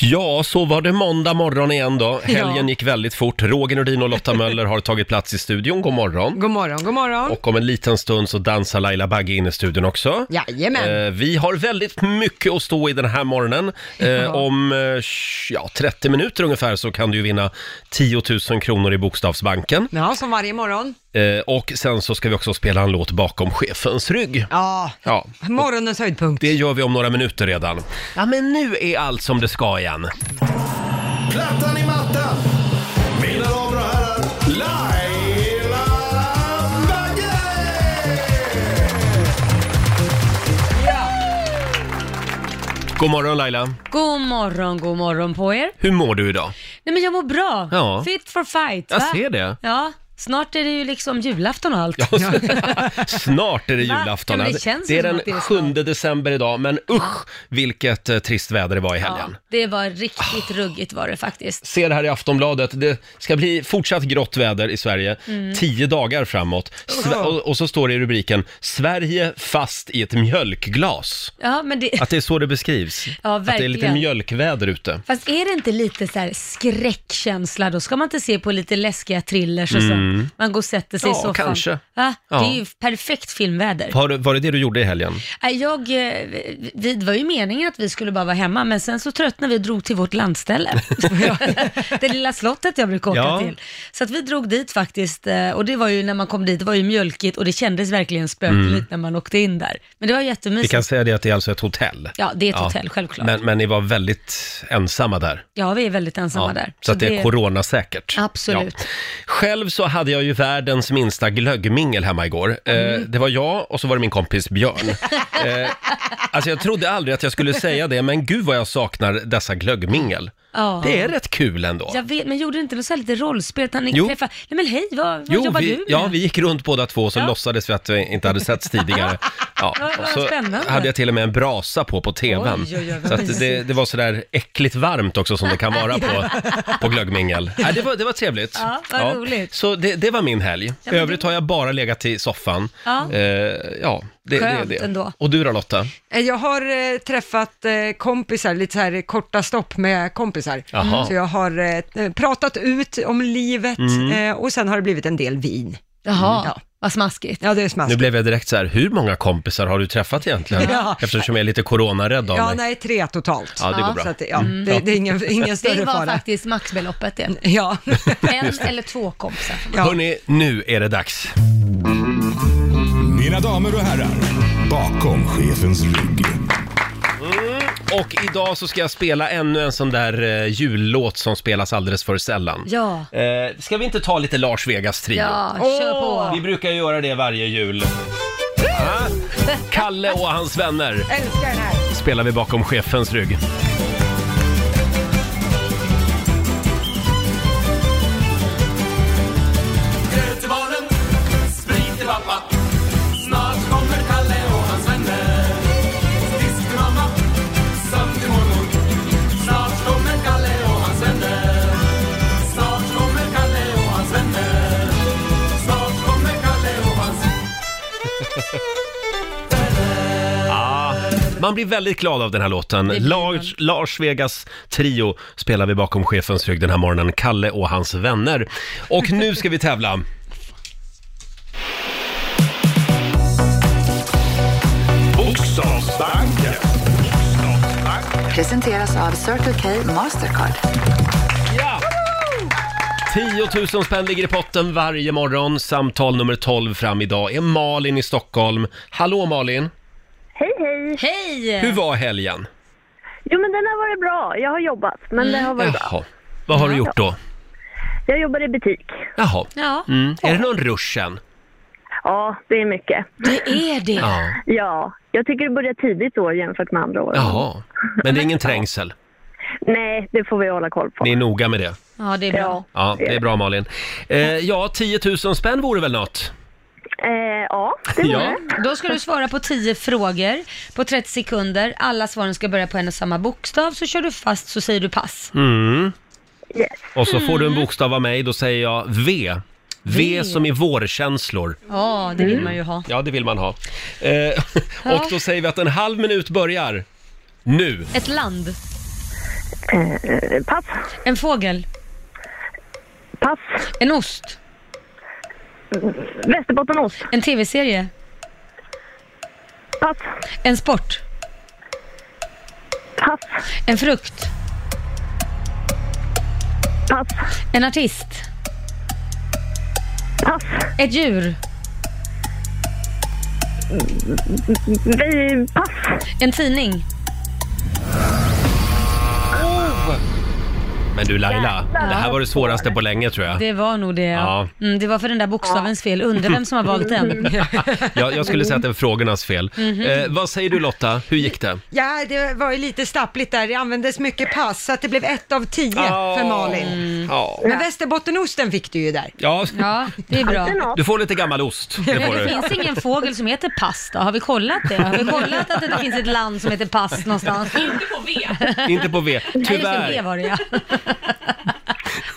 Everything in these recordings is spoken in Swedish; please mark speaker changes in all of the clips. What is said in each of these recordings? Speaker 1: Ja, så var det måndag morgon igen då. Helgen
Speaker 2: Ja.
Speaker 1: gick väldigt fort. Roger Nordin och Lotta Möller har tagit plats i studion. God morgon.
Speaker 2: God morgon, god morgon.
Speaker 1: Och om en liten stund så dansar Laila Bagge in i studion också.
Speaker 2: Jajamän.
Speaker 1: Eh, vi har väldigt mycket att stå i den här morgonen. Eh, Om eh, sh- ja, 30 minuter ungefär så kan du ju vinna 10 000 kronor i Bokstavsbanken.
Speaker 2: Ja, som varje morgon.
Speaker 1: Eh, och sen så ska vi också spela en låt bakom chefens rygg.
Speaker 2: Ja,
Speaker 1: Ja,
Speaker 2: morgonens höjdpunkt.
Speaker 1: det gör vi om några minuter redan. Ja, men nu är allt som det ska igen.
Speaker 3: Plattan i mattan. Mina damer och herrar, Laila Bagge!
Speaker 1: God morgon Laila.
Speaker 4: God morgon, god morgon på er.
Speaker 1: Hur mår du idag?
Speaker 4: Nej men jag mår bra.
Speaker 1: Ja.
Speaker 4: Fit for fight.
Speaker 1: Jag
Speaker 4: va?
Speaker 1: ser det.
Speaker 4: Ja, snart är det ju liksom julafton och allt.
Speaker 1: Snart är det
Speaker 4: Va?
Speaker 1: julafton.
Speaker 4: Ja, men det känns
Speaker 1: är
Speaker 4: som
Speaker 1: den
Speaker 4: att det är
Speaker 1: sjunde december idag, men usch vilket eh, trist väder det var i
Speaker 4: ja,
Speaker 1: helgen. Ah.
Speaker 4: det var riktigt ruggigt var det faktiskt.
Speaker 1: Ser här i Aftonbladet, det ska bli fortsatt grått väder i Sverige,
Speaker 4: Mm.
Speaker 1: tio dagar framåt. Sve- och, och så står det i rubriken, Sverige fast i ett mjölkglas.
Speaker 4: Ja, men det...
Speaker 1: Att det är så det beskrivs.
Speaker 4: Ja,
Speaker 1: att det är lite
Speaker 4: verkligen.
Speaker 1: mjölkväder ute.
Speaker 4: Fast är det inte lite så här skräckkänsla då? Ska man inte se på lite läskiga thrillers och så? Man går och sätter sig i
Speaker 1: Mm. Ja,
Speaker 4: soffan.
Speaker 1: kanske.
Speaker 4: Ja, det
Speaker 1: Ja.
Speaker 4: är ju perfekt filmväder.
Speaker 1: Var, var det det du gjorde i helgen?
Speaker 4: Nej, Jag, eh, vi- vi, det var ju meningen att vi skulle bara vara hemma, men sen så tröttnade vi och drog till vårt landställe. det lilla slottet jag brukar åka
Speaker 1: Ja.
Speaker 4: till. Så att vi drog dit faktiskt, eh, och det var ju när man kom dit, det var ju mjölkigt och det kändes verkligen spökligt när man åkte in där. Men det var
Speaker 1: Mm. Vi
Speaker 4: jättemysigt.
Speaker 1: kan säga det att det är alltså ett hotell.
Speaker 4: Ja, det är ett hotell, självklart.
Speaker 1: Men, men ni var väldigt ensamma där.
Speaker 4: Ja, vi är väldigt ensamma
Speaker 1: Ja,
Speaker 4: där.
Speaker 1: Så att det är coronasäkert.
Speaker 4: Absolut.
Speaker 1: Själv så hade jag ju världens minsta glöggmingel hemma igår. Eh,
Speaker 4: Mm.
Speaker 1: det var jag och så var det min kompis Björn. eh, alltså jag trodde aldrig att jag skulle säga det, men gud vad jag saknar dessa glöggmingel.
Speaker 4: Ja.
Speaker 1: Det är rätt kul ändå.
Speaker 4: Jag vet, men gjorde det inte något så här lite rollspel? Utan ni
Speaker 1: Jo.
Speaker 4: träffade, nej men hej, vad, vad jobbar
Speaker 1: vi,
Speaker 4: du med?
Speaker 1: ja, vi gick runt båda två så
Speaker 4: Ja.
Speaker 1: låtsades vi att vi inte hade setts tidigare. Ja,
Speaker 4: Vad-
Speaker 1: och
Speaker 4: vad
Speaker 1: så
Speaker 4: spännande.
Speaker 1: hade jag till och med en brasa på på tvn.
Speaker 4: Oj, oj, oj, vad
Speaker 1: så att
Speaker 4: mysigt.
Speaker 1: det, det var sådär äckligt varmt också som det kan vara på, på glöggmingel. Ja, det, var, det var trevligt.
Speaker 4: Ja, vad roligt.
Speaker 1: Så det, det var min helg.
Speaker 4: Ja,
Speaker 1: I
Speaker 4: men
Speaker 1: övrigt
Speaker 4: det-
Speaker 1: har jag bara legat i soffan.
Speaker 4: Ja.
Speaker 1: Eh, ja det, det är
Speaker 4: Skönt
Speaker 1: det.
Speaker 4: ändå.
Speaker 1: Och du då Lotta?
Speaker 2: Eh, Jag har eh, träffat eh, kompisar, lite så här eh, korta stopp med kompisar.
Speaker 1: Jaha.
Speaker 2: Så jag har eh, t- pratat ut om livet
Speaker 1: Mm.
Speaker 2: eh, och sen har det blivit en del vin. Mm,
Speaker 4: Jaha,
Speaker 2: Ja.
Speaker 4: vad smaskigt.
Speaker 2: Ja, det är
Speaker 1: Nu
Speaker 2: smaskigt.
Speaker 1: blev jag direkt så här, hur många kompisar har du träffat egentligen?
Speaker 2: Ja.
Speaker 1: Eftersom jag är lite coronarädd av
Speaker 2: Ja,
Speaker 1: mig.
Speaker 2: nej, tre totalt.
Speaker 1: Ja, det går bra. Mm.
Speaker 2: Så att, Mm. ja, det, det är ingen, ingen
Speaker 4: Det
Speaker 2: större
Speaker 4: var
Speaker 2: fara.
Speaker 4: faktiskt maxbeloppet det.
Speaker 2: Ja.
Speaker 4: En eller två kompisar.
Speaker 2: Ja.
Speaker 1: Hörni, nu är det dags.
Speaker 3: Mina damer och herrar, bakom chefens rygg.
Speaker 1: Och idag så ska jag spela ännu en sån där eh, jullåt som spelas alldeles för sällan.
Speaker 4: Ja.
Speaker 1: Eh, ska vi inte ta lite Lars Vegas-trio?
Speaker 4: Ja, kör
Speaker 1: Vi
Speaker 4: på.
Speaker 1: brukar ju göra det varje jul. Ah, Kalle och hans vänner
Speaker 2: Älskar den här.
Speaker 1: spelar vi bakom chefens rygg.
Speaker 5: Gröt till barnen, sprit till pappa. Snart kommer Kalle och hans vänner. Disk till mamma, sömn till mormor. Snart kommer Kalle och hans vänner. Snart kommer Kalle och hans vänner. Snart kommer Kalle och hans
Speaker 1: Ah. Man blir väldigt glad av den här låten.
Speaker 4: blir
Speaker 1: Lars, Lars Vegas trio spelar vi bakom chefens rygg den här morgonen. Kalle och hans vänner. Och nu ska vi tävla.
Speaker 3: Bokstavsbanken.
Speaker 6: Presenteras av Circle K Mastercard.
Speaker 1: Ja! 10 000 spänn ligger i potten varje morgon. Samtal nummer 12 fram idag är Malin i Stockholm. Hallå Malin!
Speaker 7: Hej, hej!
Speaker 1: Hur
Speaker 4: Hej!
Speaker 1: var helgen?
Speaker 7: Jo, men den har varit bra. Jag har jobbat, men det har
Speaker 1: Mm.
Speaker 7: varit bra.
Speaker 1: Jaha. Vad har du gjort då?
Speaker 7: Jag jobbar i butik.
Speaker 1: Jaha.
Speaker 4: Ja,
Speaker 1: Mm. Är det någon rusch än?
Speaker 7: Ja, det är mycket.
Speaker 4: det är det.
Speaker 1: Ja.
Speaker 7: Ja, jag tycker det börjar tidigt i år jämfört med andra år.
Speaker 1: Jaha. Men det är ingen trängsel?
Speaker 7: Nej, det får vi hålla koll på.
Speaker 1: Ni är noga med det?
Speaker 4: Ja, det är bra.
Speaker 7: Ja.
Speaker 1: Ja, det är bra Malin. Eh, ja, 10 000 spänn vore väl något?
Speaker 7: Eh, ja, det var
Speaker 1: Ja.
Speaker 7: det.
Speaker 4: Då ska du svara på 10 frågor på 30 sekunder. Alla svaren ska börja på en och samma bokstav, så kör du fast så säger du pass.
Speaker 1: Mm.
Speaker 7: Yes.
Speaker 1: Och så får
Speaker 7: Mm.
Speaker 1: du en bokstav av mig, då säger jag V. V
Speaker 4: V.
Speaker 1: som i vårkänslor.
Speaker 4: Ja, det vill man ju ha.
Speaker 1: Ja, det vill man ha. Eh, och då säger vi att en halv minut börjar nu.
Speaker 4: Ett land,
Speaker 7: Eh, pass.
Speaker 4: En fågel.
Speaker 7: Pass.
Speaker 4: En ost.
Speaker 7: Västerbottenost.
Speaker 4: En tv-serie.
Speaker 7: Pass.
Speaker 4: En sport.
Speaker 7: Pass.
Speaker 4: En frukt.
Speaker 7: Pass.
Speaker 4: En artist.
Speaker 7: Pass.
Speaker 4: Ett djur.
Speaker 7: Vi... Pass.
Speaker 4: En tidning.
Speaker 1: Men du Laila, det här var det svåraste på länge tror jag.
Speaker 4: Det var nog det.
Speaker 1: Ja.
Speaker 4: Mm, det var för den där bokstavens fel. Undrar vem som har valt den.
Speaker 1: Jag, jag skulle säga att det är frågornas fel.
Speaker 4: Mhm.
Speaker 1: Eh, vad säger du Lotta, hur gick det?
Speaker 2: Ja, det var ju lite stappligt där. Det användes mycket pass, så att det blev ett av tio för Malin.
Speaker 1: Ja.
Speaker 2: Men Västerbottenosten fick du ju där.
Speaker 1: ja,
Speaker 4: Ja, det är bra.
Speaker 7: Något.
Speaker 1: du får lite gammal ost. Det
Speaker 4: Men
Speaker 1: får
Speaker 4: det
Speaker 1: du.
Speaker 4: finns ingen fågel som heter pasta. Har vi kollat det? Har vi kollat att det inte finns ett land som heter pass någonstans? Inte på V.
Speaker 1: Inte på V,
Speaker 4: Nej, just det, V
Speaker 1: tyvärr.
Speaker 4: var det ja.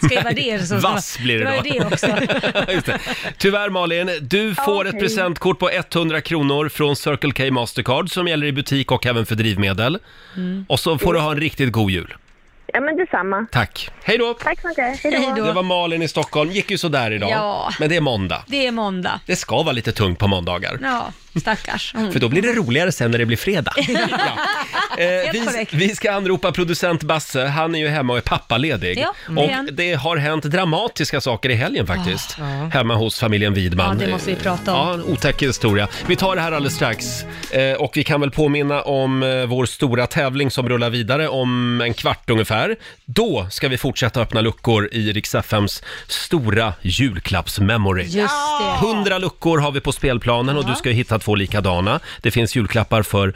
Speaker 4: Skriva det så.
Speaker 1: Vass blir det
Speaker 4: Det var
Speaker 1: då.
Speaker 4: ju det också.
Speaker 1: Just det. Tyvärr Malin, du får ett presentkort på 100 kronor från Circle K Mastercard som gäller i butik och även för drivmedel.
Speaker 4: Mm.
Speaker 1: Och så får du ha en riktigt god jul.
Speaker 7: Ja, men detsamma.
Speaker 1: Tack. Hej då!
Speaker 7: Tack så mycket. Hej då.
Speaker 4: Hej
Speaker 1: Det
Speaker 4: då.
Speaker 1: var Malin i Stockholm, gick ju sådär idag.
Speaker 4: Ja.
Speaker 1: Men det är måndag.
Speaker 4: Det är måndag.
Speaker 1: Det ska vara lite tungt på måndagar.
Speaker 4: Ja, stackars. Mm.
Speaker 1: För då blir det roligare sen när det blir fredag. ja. eh, vi,
Speaker 4: korrekt.
Speaker 1: vi ska anropa producent Basse, han är ju hemma och är pappaledig.
Speaker 4: Ja, det är
Speaker 1: och
Speaker 4: han. Ah,
Speaker 1: det har hänt dramatiska saker i helgen faktiskt. Hemma hos familjen Widman.
Speaker 4: Ja, det måste vi prata om.
Speaker 1: Ja, en otäck historia. Vi tar det här alldeles strax. Eh, och vi kan väl påminna om eh, vår stora tävling som rullar vidare om en kvart ungefär. Då ska vi fortsätta öppna luckor i Rix FMs stora julklappsmemory.
Speaker 4: Just det.
Speaker 1: 100 luckor har vi på spelplanen och du ska ju hitta två likadana. Det finns julklappar för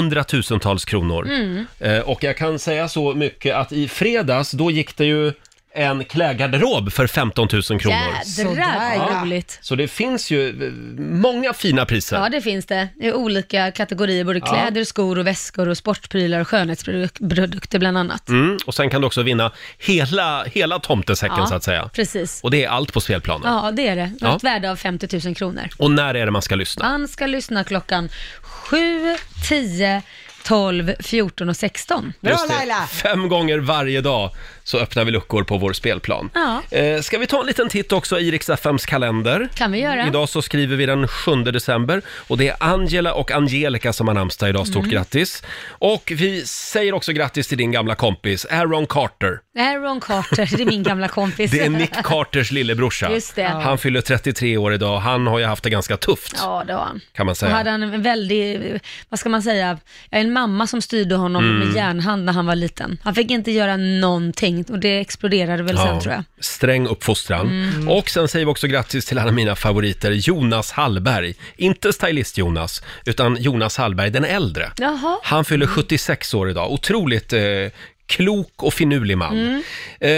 Speaker 1: hundratusentals kronor.
Speaker 4: Mm.
Speaker 1: Eh, och jag kan säga så mycket att i fredags, då gick det ju en klädgarderob för 15 000 kronor.
Speaker 4: Jädrar vad roligt.
Speaker 1: Så det finns ju eh, många fina priser.
Speaker 4: Ja, det finns det. Det är olika kategorier, både kläder, skor och väskor och sportprylar och skönhetsprodukter bland annat.
Speaker 1: Mm, och sen kan du också vinna hela, hela tomtesäcken
Speaker 4: Ja,
Speaker 1: så att säga.
Speaker 4: Precis.
Speaker 1: Och det är allt på spelplanen.
Speaker 4: Ja, det är det. Något
Speaker 1: Ja.
Speaker 4: värde av 50 000 kronor.
Speaker 1: Och när är det man ska lyssna?
Speaker 4: Man ska lyssna klockan 7, 10, 12, 14 och 16.
Speaker 2: Bra
Speaker 1: Just det.
Speaker 2: Laila!
Speaker 1: Fem gånger varje dag så öppnar vi luckor på vår spelplan.
Speaker 4: Ja.
Speaker 1: Eh, ska vi ta en liten titt också i Rix FMs kalender?
Speaker 4: Kan vi göra.
Speaker 1: Idag så skriver vi den 7 december och det är Angela och Angelica som har namnsdag idag. Stort
Speaker 4: Mm.
Speaker 1: grattis! Och vi säger också grattis till din gamla kompis Aaron Carter.
Speaker 4: Det här är Ron Carter, det är min gamla kompis.
Speaker 1: Det är Nick Carters lillebrorsa.
Speaker 4: Just det.
Speaker 1: Han fyller 33 år idag. Han har ju haft det ganska tufft.
Speaker 4: Ja, det var han.
Speaker 1: Kan man säga.
Speaker 4: Och hade han en väldig, vad ska man säga, Ja, en mamma som styrde honom
Speaker 1: Mm.
Speaker 4: med järnhand när han var liten. Han fick inte göra någonting och det exploderade väl sen tror jag. Mm.
Speaker 1: Sträng uppfostran. Och sen säger vi också grattis till alla mina favoriter, Jonas Hallberg. Inte stylist-Jonas, utan Jonas Hallberg den äldre.
Speaker 4: Jaha.
Speaker 1: Han fyller
Speaker 4: Mm.
Speaker 1: 76 år idag. Otroligt eh, klok och finurlig man.
Speaker 4: Mm.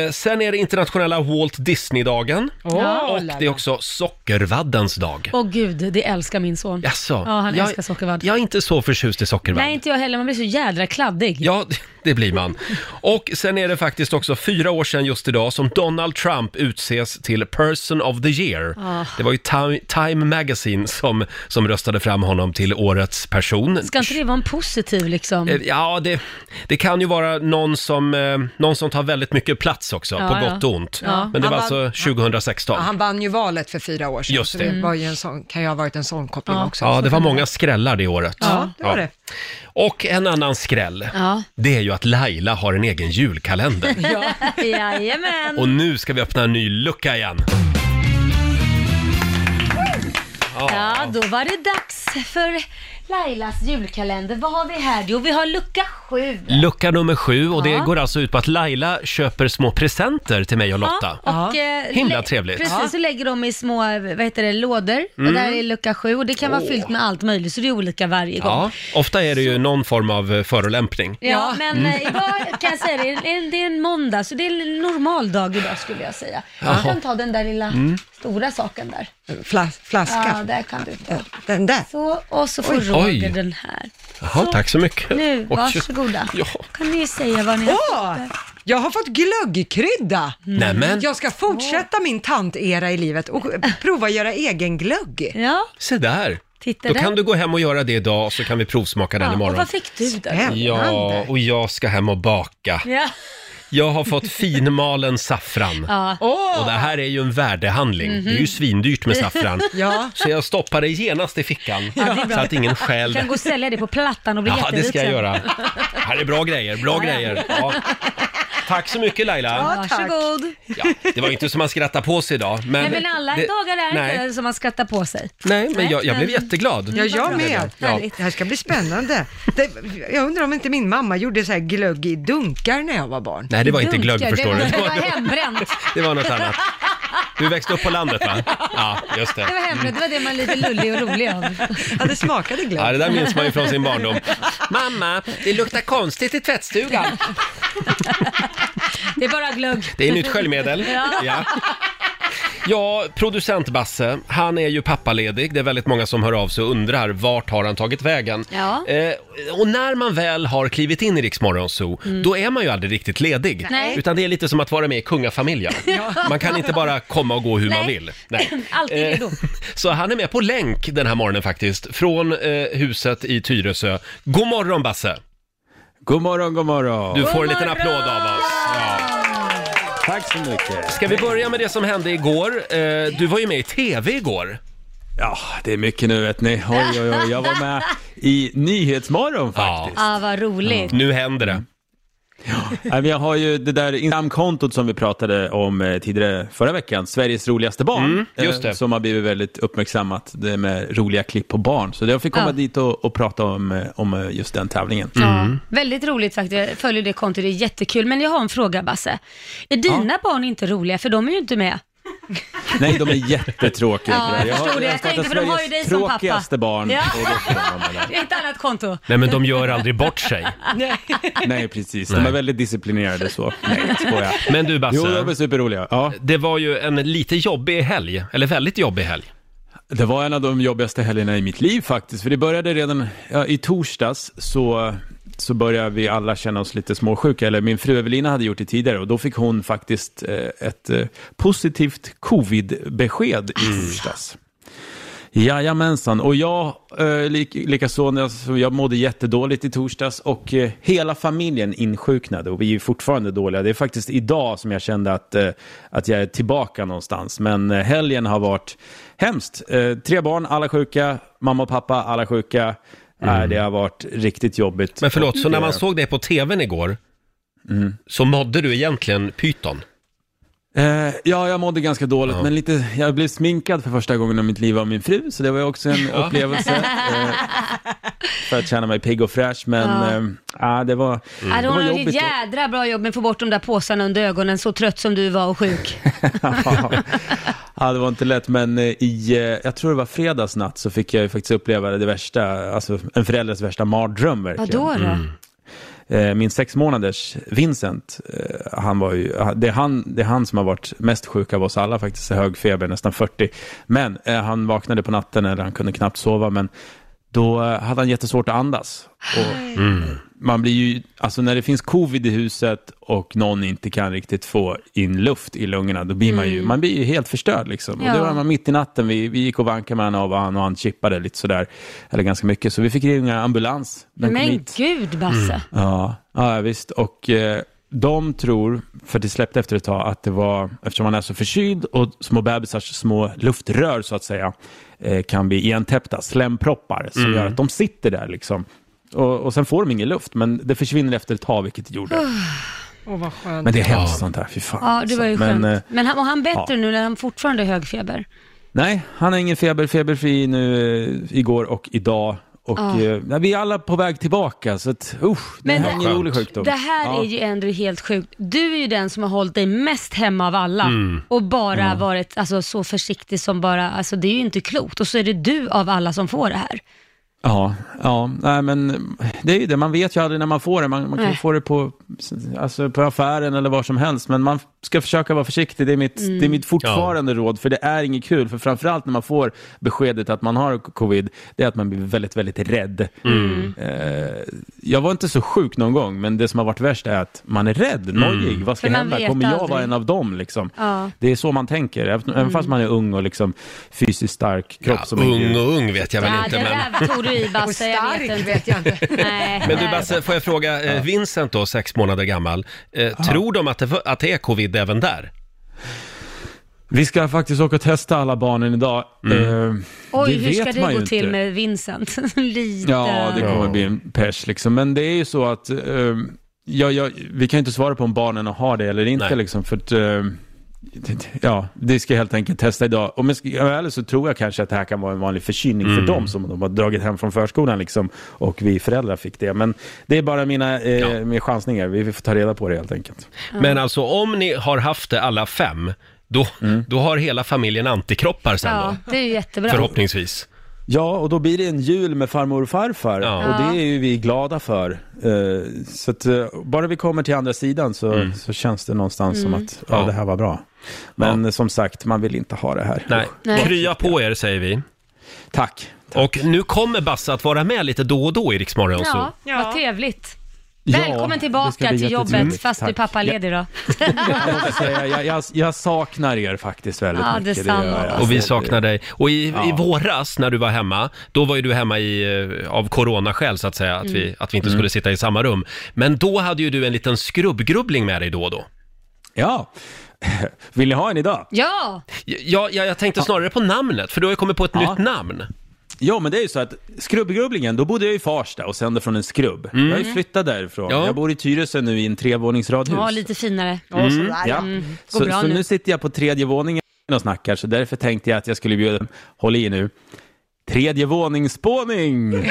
Speaker 1: Eh, sen är det internationella Walt Disney-dagen. och det är också sockervaddens dag.
Speaker 4: Åh gud, det älskar min son.
Speaker 1: Jaså,
Speaker 4: Ja, han
Speaker 1: jag,
Speaker 4: älskar sockervadd.
Speaker 1: Jag är inte så förtjust i sockervadd.
Speaker 4: Nej, inte jag heller. Man blir så jädra kladdig.
Speaker 1: Ja, det blir man. Och sen är det faktiskt också fyra år sedan just idag som Donald Trump utses till Person of the Year. Det var ju Time, Time Magazine som, som röstade fram honom till årets person.
Speaker 4: Ska inte det vara en positiv liksom?
Speaker 1: Eh, Ja, det, det kan ju vara någon som, eh, någon som tar väldigt mycket plats också,
Speaker 4: Ja,
Speaker 1: på
Speaker 4: ja.
Speaker 1: gott och ont.
Speaker 4: Ja.
Speaker 1: Men det var
Speaker 2: Han
Speaker 1: alltså
Speaker 2: Ja,
Speaker 1: 2016.
Speaker 2: han vann ju valet för fyra år sedan,
Speaker 1: Just
Speaker 2: så
Speaker 1: det.
Speaker 2: det var ju
Speaker 4: Mm.
Speaker 2: en sån, kan ju ha varit en sån koppling också.
Speaker 1: Ja, det var många skrällar det året.
Speaker 2: Ja, det var det.
Speaker 1: Och en annan skräll,
Speaker 4: Ja.
Speaker 1: det är ju att Laila har en egen julkalender.
Speaker 4: Jajamän.
Speaker 1: Och nu ska vi öppna en ny lucka igen.
Speaker 4: Ja, då var det dags för Lailas julkalender. Vad har vi här? Jo, vi har lucka sju.
Speaker 1: Lucka nummer sju och det
Speaker 4: Ja.
Speaker 1: går alltså ut på att Laila köper små presenter till mig och Lotta.
Speaker 4: Ja, och, eh,
Speaker 1: Himla
Speaker 4: lä-
Speaker 1: trevligt. Mm.
Speaker 4: Precis, så lägger de i små eh, vad heter det, lådor. Och där är lucka sju och det kan vara fyllt med allt möjligt så det är olika varje gång.
Speaker 1: Ja,
Speaker 4: Ja.
Speaker 1: ofta är det ju någon form av eh, förolämpning.
Speaker 4: men
Speaker 1: Mm.
Speaker 4: eh, idag kan jag säga det, det, är en, det är en måndag så det är en normal dag idag skulle jag säga. Du kan ta den där lilla
Speaker 1: Mm.
Speaker 4: stora saken där.
Speaker 2: Fla,
Speaker 4: Ja,
Speaker 2: flaska.
Speaker 4: där kan du ta.
Speaker 2: Den där.
Speaker 4: Så, och så får
Speaker 1: Oj.
Speaker 4: Roger den här.
Speaker 1: Jaha, tack så mycket.
Speaker 4: Nu,
Speaker 1: Oj.
Speaker 4: varsågoda.
Speaker 1: Ja.
Speaker 4: Kan ni säga vad ni har
Speaker 2: Åh! Jag har fått glöggkrydda!
Speaker 1: Mm. Nämen,
Speaker 2: Jag ska fortsätta min tantera i livet och prova att göra egen glögg.
Speaker 4: Ja,
Speaker 1: se där.
Speaker 4: Titta
Speaker 1: Då
Speaker 4: där.
Speaker 1: kan du gå hem och göra det idag så kan vi provsmaka den
Speaker 4: ja, och
Speaker 1: imorgon.
Speaker 4: vad fick du då?
Speaker 2: Spännande.
Speaker 1: Ja, och jag ska hem och baka.
Speaker 4: Ja.
Speaker 1: Jag har fått finmalen saffran.
Speaker 4: Ja.
Speaker 1: Och det här är ju en värdehandling. Det
Speaker 4: Mhm.
Speaker 1: är ju svindyrt med saffran.
Speaker 2: Ja.
Speaker 1: Så jag stoppar det genast i fickan
Speaker 4: det är bra.
Speaker 1: så att ingen
Speaker 4: Du
Speaker 1: stjäl
Speaker 4: kan gå och sälja det på Plattan och bli
Speaker 1: Ja, det
Speaker 4: jätterik
Speaker 1: ska jag
Speaker 4: sen.
Speaker 1: göra. Det här är bra grejer, bra
Speaker 4: Ja, ja.
Speaker 1: grejer. Ja. Tack så mycket Laila.
Speaker 2: Ja, tack.
Speaker 4: Varsågod.
Speaker 1: Ja, det var ju inte som man skrattade på sig idag. Men
Speaker 4: Nej, men alla
Speaker 1: det-
Speaker 4: dagar är
Speaker 1: nej,
Speaker 4: inte som man skrattar på sig.
Speaker 1: Nej, men jag, jag
Speaker 4: Nej.
Speaker 1: blev jätteglad.
Speaker 2: Ja, jag
Speaker 4: bra.
Speaker 2: med.
Speaker 1: Ja.
Speaker 2: Det här ska bli spännande. Det, jag undrar om inte min mamma gjorde så här glögg i dunkar när jag var barn.
Speaker 1: Nej, det var inte glögg
Speaker 4: Dunkar,
Speaker 1: förstår du.
Speaker 4: Det var,
Speaker 1: Det
Speaker 4: det
Speaker 1: var,
Speaker 4: var hembränt.
Speaker 1: det var något annat. Du växte upp på landet va? Ja, just det.
Speaker 4: Det var hembränt, det var det man är lite lullig och rolig av.
Speaker 2: Ja, det smakade
Speaker 1: Ja,
Speaker 2: glögg.
Speaker 1: det där minns man ju från sin barndom. Mamma, det luktar konstigt i tvättstugan.
Speaker 4: Det är bara glögg.
Speaker 1: Det är nytt sköljmedel. Ja. Ja, producent Basse, han är ju pappaledig. Det är väldigt många som hör av sig och undrar vart har han tagit vägen?
Speaker 4: Ja.
Speaker 1: Eh, och när man väl har klivit in i Rix Morgon Zoo, då är man ju aldrig riktigt ledig.
Speaker 4: Mm. Nej.
Speaker 1: Utan det är lite som att vara med i kungafamiljen. Man kan inte bara komma och gå hur man
Speaker 4: Nej.
Speaker 1: vill. Nej.
Speaker 4: Alltid
Speaker 1: Eh,
Speaker 4: redo.
Speaker 1: Så han är med på länk den här morgonen faktiskt, från eh, huset i Tyresö. God morgon Basse!
Speaker 8: God morgon, god morgon.
Speaker 1: Du får en
Speaker 4: God
Speaker 1: liten
Speaker 4: morgon!
Speaker 1: applåd av oss.
Speaker 8: Tack så mycket.
Speaker 1: Ska vi börja med det som hände igår? Eh, du var ju med i TV igår.
Speaker 8: Ja, Ah, det är mycket nu vet ni. Oj, oj, oj. Jag var med i Nyhetsmorgon faktiskt.
Speaker 4: Ah, vad roligt.
Speaker 1: Nu händer det.
Speaker 8: Nej, men Jag har ju det där Instagram-kontot som vi pratade om eh, tidigare förra veckan, Sveriges roligaste barn,
Speaker 1: Mm, just
Speaker 8: eh,
Speaker 1: det.
Speaker 8: som har blivit väldigt uppmärksammat, det med roliga klipp på barn. Så jag fick komma
Speaker 4: Ja.
Speaker 8: dit och, och prata om, eh, om eh, just den tävlingen.
Speaker 1: Mm.
Speaker 4: Ja, väldigt roligt faktiskt. Jag följer det kontot, det är jättekul. Men jag har en fråga Basse. Är dina barn inte roliga? För de är ju inte med.
Speaker 8: Nej, de är jättetråkiga.
Speaker 4: Ja, jag
Speaker 8: har-
Speaker 4: förstod det. Jag
Speaker 8: startat
Speaker 4: tänkte, för de har ju
Speaker 8: Sveriges
Speaker 4: dig som pappa.
Speaker 8: tråkigaste barn.
Speaker 4: Ja.
Speaker 8: Och då får de vara med.
Speaker 4: Det är ett annat konto.
Speaker 1: Nej men de gör aldrig bort sig.
Speaker 8: Nej, precis.
Speaker 1: Nej.
Speaker 8: De är väldigt disciplinerade så. Nej, skojar.
Speaker 1: Men du
Speaker 8: Jo, de är
Speaker 1: Basse,
Speaker 8: superroliga. Ja.
Speaker 1: det var ju en lite jobbig helg, eller väldigt jobbig helg.
Speaker 8: Det var en av de jobbigaste helgerna i mitt liv faktiskt, för det började redan ja, i torsdags så, så började vi alla känna oss lite småsjuka, eller min fru Evelina hade gjort det tidigare och då fick hon faktiskt eh, ett eh, positivt covid-besked i
Speaker 1: Mm.
Speaker 8: torsdags. Jajamensan, och jag eh, lik, likaså, när jag, så jag mådde jättedåligt i torsdags och eh, hela familjen insjuknade och vi är fortfarande dåliga. Det är faktiskt idag som jag kände att, eh, att jag är tillbaka någonstans, men eh, helgen har varit hemskt. Eh, tre barn, alla sjuka, mamma och pappa, alla sjuka. Nej, det har varit riktigt jobbigt.
Speaker 1: Mm. Men förlåt, så
Speaker 8: Och,
Speaker 1: när
Speaker 8: eh,
Speaker 1: man såg det på TVn igår, så mådde du egentligen pyton?
Speaker 8: Eh, ja, jag mådde ganska dåligt,
Speaker 1: Ja.
Speaker 8: men lite, jag blev sminkad för första gången i mitt liv av min fru, så det var ju också en upplevelse. Eh, för att känna mig pigg och fräsch, men
Speaker 4: Ja.
Speaker 8: ja. ah, det var,
Speaker 4: Ja,
Speaker 8: det
Speaker 4: hon
Speaker 8: var
Speaker 4: har gjort ett
Speaker 8: jobbigt.
Speaker 4: jädra bra jobb med att få bort de där påsarna under ögonen, så trött som du var och sjuk.
Speaker 8: ja, det var inte lätt, men eh, i, eh, jag tror det var fredagsnatt så fick jag ju faktiskt uppleva det värsta, alltså en förälders värsta mardröm verkligen.
Speaker 4: Vadå då?
Speaker 8: Eh, min sex månaders Vincent, eh, han var ju, det, är han, det är han som har varit mest sjuk av oss alla faktiskt, hög feber, nästan 40. Men eh, han vaknade på natten, eller han kunde knappt sova, men då eh, hade han jättesvårt att andas. Och Man blir ju, alltså när det finns covid i huset och någon inte kan riktigt få in luft i lungorna, då blir man ju, man blir ju helt förstörd liksom. Och det
Speaker 4: Mm. Ja.
Speaker 8: var man mitt i natten, vi, vi gick och vankade med honom och han, och han chippade lite sådär, eller ganska mycket, så vi fick ringa ambulans. Den kom
Speaker 4: Men
Speaker 8: hit. Mm.
Speaker 4: gud Basse.
Speaker 8: Ja, ja visst. Och eh, de tror, för det släppte efter ett tag, att det var, eftersom han är så förkyld och små bebisars små luftrör så att säga, eh, kan bli igentäppta, slemproppar, som
Speaker 4: Mm.
Speaker 8: gör att de sitter där liksom. Och, och sen får de ingen luft, men det försvinner efter ett tag, vilket det gjorde.
Speaker 2: Åh, vad skönt.
Speaker 8: Men det är hemskt sånt här, fy fan.
Speaker 4: Ah. Ja, det var ju
Speaker 8: alltså.
Speaker 4: skönt.
Speaker 8: men,
Speaker 4: Men,
Speaker 8: eh,
Speaker 4: han, var han bättre
Speaker 8: ja.
Speaker 4: nu när han fortfarande är hög feber?
Speaker 8: Nej, han har ingen feber, feberfri nu eh, igår och idag. Och
Speaker 4: Ja.
Speaker 8: eh, nej, vi är alla på väg tillbaka, så att usch, det
Speaker 4: Ah. Men
Speaker 8: här är
Speaker 4: det-
Speaker 8: ingen rolig sjukdom.
Speaker 4: Det här är ju ändå helt sjukt. Du är ju den som har hållit dig mest hemma av alla
Speaker 8: Mm.
Speaker 4: och bara varit alltså, så försiktig som bara, alltså det är ju inte klokt. Och så är det du av alla som får det här.
Speaker 8: Ja, ja nej, men det är ju det. Man vet ju aldrig när man får det. Man, man kan ju
Speaker 4: Nej.
Speaker 8: få det på, alltså, på affären eller var som helst, men man ska försöka vara försiktig. Det är mitt,
Speaker 4: Mm.
Speaker 8: det är mitt fortfarande råd, för det är inget kul. För framförallt när man får beskedet att man har covid, det är att man blir väldigt, väldigt rädd.
Speaker 1: Mm.
Speaker 8: Eh, jag var inte så sjuk någon gång, men det som har varit värst är att man är
Speaker 1: Mm.
Speaker 8: rädd, nojig. Vad ska
Speaker 4: För man
Speaker 8: hända?
Speaker 4: vet
Speaker 8: Kommer jag
Speaker 4: aldrig.
Speaker 8: vara en av dem? Liksom?
Speaker 4: Ja. Mm.
Speaker 8: Det är så man tänker, även även fast man är ung och liksom fysiskt stark kropp
Speaker 1: Ja,
Speaker 8: som är
Speaker 1: ung och ung vet jag väl
Speaker 4: Ja,
Speaker 1: inte,
Speaker 4: det
Speaker 1: men...
Speaker 4: där tog du i
Speaker 2: Och
Speaker 4: Basse, jag vet
Speaker 2: stark
Speaker 4: inte.
Speaker 2: vet jag inte.
Speaker 4: Nej,
Speaker 1: Men du
Speaker 4: nej.
Speaker 1: Basse, får jag fråga, eh, Vincent då, sex månader gammal, eh, tror de att det, att det är covid även där?
Speaker 8: Vi ska faktiskt åka och testa alla barnen idag.
Speaker 1: Mm.
Speaker 8: Eh,
Speaker 4: Oj,
Speaker 8: det
Speaker 4: hur ska
Speaker 8: vet
Speaker 4: det
Speaker 8: man
Speaker 4: gå
Speaker 8: ju
Speaker 4: till
Speaker 8: inte.
Speaker 4: med Vincent? Lite.
Speaker 8: Ja, det kommer bli en pers liksom. Men det är ju så att eh, ja, ja, vi kan ju inte svara på om barnen har det eller inte
Speaker 1: Nej.
Speaker 8: liksom. För att, eh, det- ja, det ska jag helt enkelt testa idag. Om jag ska vara ärlig så tror jag kanske att det här kan vara en vanlig förkylning
Speaker 1: Mm.
Speaker 8: för dem som de har dragit hem från förskolan liksom. Och vi föräldrar fick det. Men det är bara mina, eh,
Speaker 1: Ja.
Speaker 8: mina chansningar. Vi vi får ta reda på det helt enkelt.
Speaker 1: Men alltså om ni har haft det alla fem, då,
Speaker 8: Mm.
Speaker 1: då har hela familjen antikroppar sen
Speaker 4: Ja,
Speaker 1: då?
Speaker 4: det är ju jättebra.
Speaker 1: Förhoppningsvis.
Speaker 8: Ja, och då blir det en jul med farmor och farfar.
Speaker 1: Ja.
Speaker 8: Och det är ju vi glada för. Eh, så att, eh, bara vi kommer till andra sidan så, så känns det någonstans
Speaker 4: Mm.
Speaker 8: som att ja,
Speaker 1: Mm. Ja.
Speaker 8: det här var bra. Men eh, som sagt, man vill inte ha det här.
Speaker 1: Nej.
Speaker 4: Nej.
Speaker 1: Krya på er säger vi.
Speaker 8: Tack.
Speaker 1: Och nu kommer Basse att vara med lite då och då i Rix Morgon Zoo.
Speaker 4: Ja,
Speaker 2: Ja.
Speaker 4: vad trevligt.
Speaker 8: Ja, det
Speaker 4: Välkommen
Speaker 8: ska
Speaker 4: tillbaka
Speaker 8: bli
Speaker 4: till jobbet,
Speaker 8: jättetrevligt.
Speaker 4: fast du är
Speaker 8: Tack.
Speaker 4: pappaledig då.
Speaker 8: Jag, måste säga, jag, jag, jag saknar er faktiskt väldigt
Speaker 4: Ja,
Speaker 8: mycket.
Speaker 4: detsamma.
Speaker 8: gör jag.
Speaker 1: Och vi
Speaker 8: Alltså,
Speaker 1: saknar dig. Och i, i
Speaker 8: Ja.
Speaker 1: våras när du var hemma, då var ju du hemma i, eh, av coronaskäl så att säga, att
Speaker 4: Mm.
Speaker 1: vi, att vi inte
Speaker 8: Mm.
Speaker 1: skulle sitta i samma rum. Men då hade ju du en liten skrubbgrubbling med dig då och då.
Speaker 8: Ja. Vill ni ha en idag?
Speaker 4: Ja,
Speaker 1: Ja, ja jag tänkte snarare på namnet, för du har ju kommit på ett nytt namn.
Speaker 8: Ja, men det är ju så att skrubbgrubblingen, då bodde jag i Farsta och sände från en skrubb. Jag har ju flyttat därifrån.
Speaker 1: Mm. Ja.
Speaker 8: Jag bor i Tyresö nu i en trevåningsradhus.
Speaker 4: ja lite finare.
Speaker 1: Mm.
Speaker 2: Och sådär.
Speaker 8: Mm, Ja.
Speaker 4: Går
Speaker 8: Så,
Speaker 4: bra
Speaker 8: så
Speaker 4: nu.
Speaker 8: nu sitter jag på tredje våningen och snackar, så därför tänkte jag att jag skulle bjuda, håll i nu, tredje våningsspåning!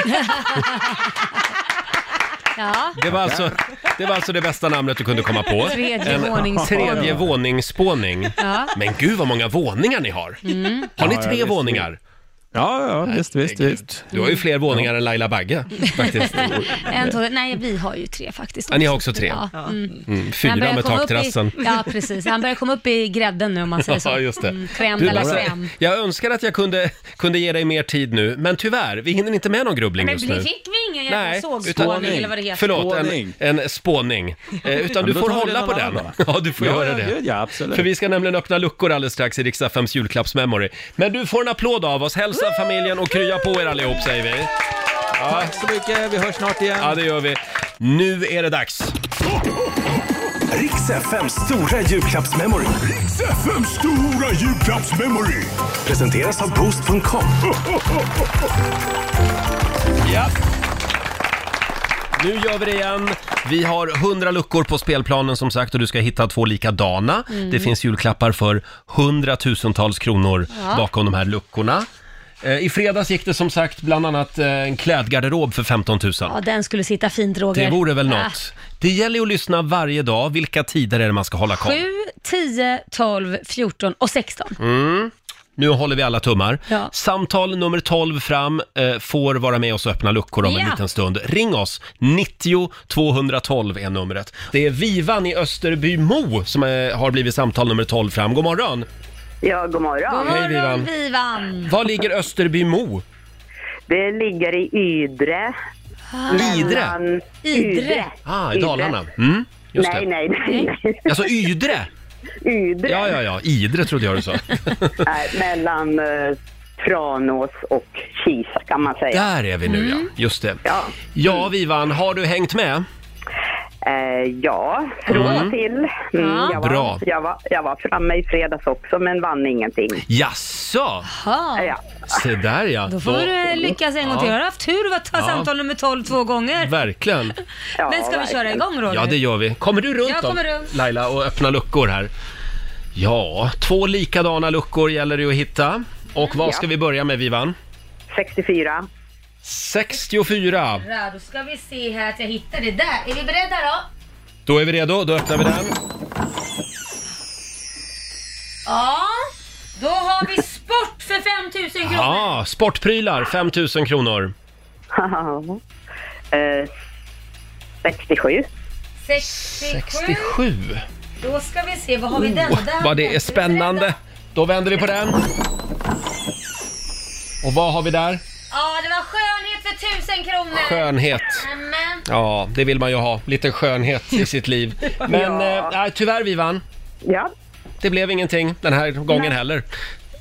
Speaker 4: Ja,
Speaker 1: Det var, alltså, det var alltså det bästa namnet du kunde komma på.
Speaker 4: tredje
Speaker 1: En
Speaker 4: våningsspåning.
Speaker 1: Tredje våningsspåning.
Speaker 4: Ja.
Speaker 1: Men gud vad många våningar ni har.
Speaker 4: Mm.
Speaker 1: Har ni
Speaker 8: Ja, ja,
Speaker 1: tre
Speaker 8: visst.
Speaker 1: våningar?
Speaker 8: Ja, ja, visst, visst, visst.
Speaker 1: Du har ju fler våningar än Laila Bagge faktiskt. Mm,
Speaker 4: En, två, nej, vi har ju tre faktiskt.
Speaker 1: Ja, ni har också tre.
Speaker 4: Ja. Mm.
Speaker 1: Mm,
Speaker 4: Han
Speaker 1: fyra
Speaker 4: börjar
Speaker 1: med
Speaker 4: komma upp
Speaker 1: takterrassen.
Speaker 4: I, ja, precis. Han börjar komma upp i grädden nu om man säger så.
Speaker 1: Ja, just det.
Speaker 4: Mm, crème
Speaker 1: Du,
Speaker 4: de la
Speaker 1: Laura,
Speaker 4: crème.
Speaker 1: jag önskar att jag kunde, kunde ge dig mer tid nu, men tyvärr, vi hinner inte med någon grubbling
Speaker 4: Men
Speaker 1: just nu.
Speaker 4: bli- fick vi ingen jävla sågspåning
Speaker 1: utan-
Speaker 4: eller vad det heter?
Speaker 1: Förlåt, en,
Speaker 8: Spåning.
Speaker 1: en spåning. Eh, utan du
Speaker 8: då
Speaker 1: får
Speaker 8: tar vi
Speaker 1: hålla
Speaker 8: den
Speaker 1: på
Speaker 8: någon
Speaker 1: den.
Speaker 8: annan,
Speaker 1: Ja, du får
Speaker 8: Ja,
Speaker 1: göra
Speaker 8: ja,
Speaker 1: det.
Speaker 8: gud, ja, absolut.
Speaker 1: För vi ska nämligen öppna luckor alldeles strax i Rix FMs julklappsmemory. Men du får en applåd av oss. Hälsa familjen och krya på er allihop, säger vi.
Speaker 8: Tack så mycket, vi hörs snart igen.
Speaker 1: Ja, det gör vi. Nu är det dags.
Speaker 3: Riks FMs stora julklappsmemory. Riks FMs stora julklappsmemory. Presenteras av Boost.com.
Speaker 1: Ja. Nu gör vi det igen. Vi har 100 luckor på spelplanen som sagt och du ska hitta två likadana.
Speaker 4: Mm.
Speaker 1: Det finns julklappar för hundratusentals kronor bakom de här luckorna. Eh, I fredags gick det som sagt bland annat eh, en klädgarderob för 15 000.
Speaker 4: Ja, den skulle sitta fint Roger.
Speaker 1: Det vore väl
Speaker 4: Ah.
Speaker 1: något. Det gäller ju att lyssna varje dag. Vilka tider är det man ska hålla koll?
Speaker 4: 7, 10, 12, 14 och 16.
Speaker 1: Mm. Nu håller vi alla tummar.
Speaker 4: Ja.
Speaker 1: Samtal nummer 12 fram eh, får vara med oss och öppna luckor om en
Speaker 4: Ja.
Speaker 1: liten stund. Ring oss! 90 212 är numret. Det är Vivan i Österbymo som eh, har blivit samtal nummer 12 fram. God morgon!
Speaker 7: Ja, god morgon.
Speaker 4: God
Speaker 1: Hej, Vivan.
Speaker 4: morgon Vivan!
Speaker 1: Var ligger Österbymo?
Speaker 7: Det ligger i Ydre.
Speaker 1: Idre?
Speaker 7: Mellan
Speaker 4: Idre.
Speaker 1: Ah, i Dalarna. Mm, just
Speaker 7: Nej,
Speaker 1: det.
Speaker 7: nej, nej, nej.
Speaker 1: Alltså Ydre?
Speaker 7: Ydre.
Speaker 1: Ja, ja, ja. Idre trodde jag du sa.
Speaker 7: Nej, mellan eh, Tranås och Kisa kan man säga.
Speaker 1: Där är vi nu
Speaker 4: Mm.
Speaker 1: ja, just det.
Speaker 7: Ja,
Speaker 1: Ja, Vivan, har du hängt med?
Speaker 7: eh, ja från och till. Mm,
Speaker 4: Ja.
Speaker 7: jag, var,
Speaker 1: Bra.
Speaker 7: Jag, var, jag var framme i fredags också men vann ingenting.
Speaker 1: Jaså?
Speaker 4: Ja.
Speaker 7: Ja.
Speaker 1: Se där ja.
Speaker 4: Då får du lyckas en gång
Speaker 1: Ja.
Speaker 4: till. Har du haft tur att ta
Speaker 1: Ja.
Speaker 4: samtal nummer 12 två gånger?
Speaker 1: Verkligen.
Speaker 7: Ja,
Speaker 4: Men ska vi köra
Speaker 7: verkligen.
Speaker 4: igång Roger?
Speaker 1: Ja, det gör vi. Kommer du runt
Speaker 4: Jag
Speaker 1: då,
Speaker 4: kommer runt.
Speaker 1: Laila och öppna luckor här? Ja, två likadana luckor gäller det att hitta. Och vad ska vi börja med Vivan?
Speaker 7: 64.
Speaker 1: 64.
Speaker 4: Bra, Då ska vi se här att jag hittar det där. Är vi beredda då?
Speaker 1: Då är vi redo, då öppnar vi den.
Speaker 4: Ja. Då har vi sport för 5000 kronor.
Speaker 1: Ja, sportprylar 5 000 kronor.
Speaker 7: eh, 67.
Speaker 4: 67.
Speaker 1: 67.
Speaker 4: Då ska vi se, vad har vi den?
Speaker 1: Oh,
Speaker 4: Där har
Speaker 1: vad
Speaker 4: vi
Speaker 1: det
Speaker 4: den.
Speaker 1: är spännande! Då vänder vi på den. Och vad har vi där?
Speaker 4: Ja, det var skönhet för tusen kronor.
Speaker 1: Skönhet.
Speaker 4: Nämen.
Speaker 1: Ja, det vill man ju ha. Lite skönhet i sitt liv. Men eh, nej, tyvärr Vivan,
Speaker 7: Ja,
Speaker 1: det blev ingenting den här gången heller.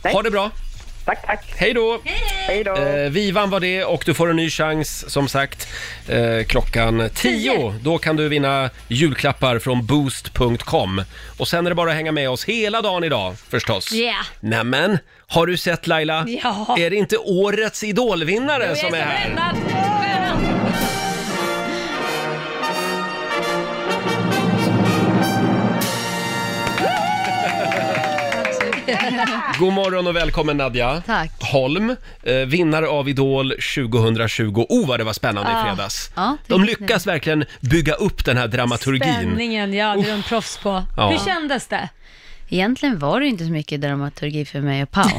Speaker 1: Ha det bra!
Speaker 7: tack, tack.
Speaker 1: Hej då!
Speaker 7: Hej då.
Speaker 1: Eh, Vivan var det och du får en ny chans som sagt eh, klockan 10. Då kan du vinna julklappar från boost.com. Och sen är det bara att hänga med oss hela dagen idag förstås.
Speaker 4: Ja.
Speaker 1: Nämen, har du sett Laila?
Speaker 4: Ja.
Speaker 1: Är det inte årets idolvinnare som är här? God morgon och välkommen Nadja
Speaker 9: Tack.
Speaker 1: Holm, eh, vinnare av Idol 2020. Oh vad det var spännande i
Speaker 9: Ja.
Speaker 1: fredags.
Speaker 9: Ja, det
Speaker 1: De
Speaker 9: gick nu.
Speaker 1: lyckas verkligen bygga upp den här dramaturgin.
Speaker 4: Spänningen, ja, det är de proffs på.
Speaker 1: Ja.
Speaker 4: Hur kändes det?
Speaker 9: Egentligen var det inte så mycket dramaturgi för mig och Pau.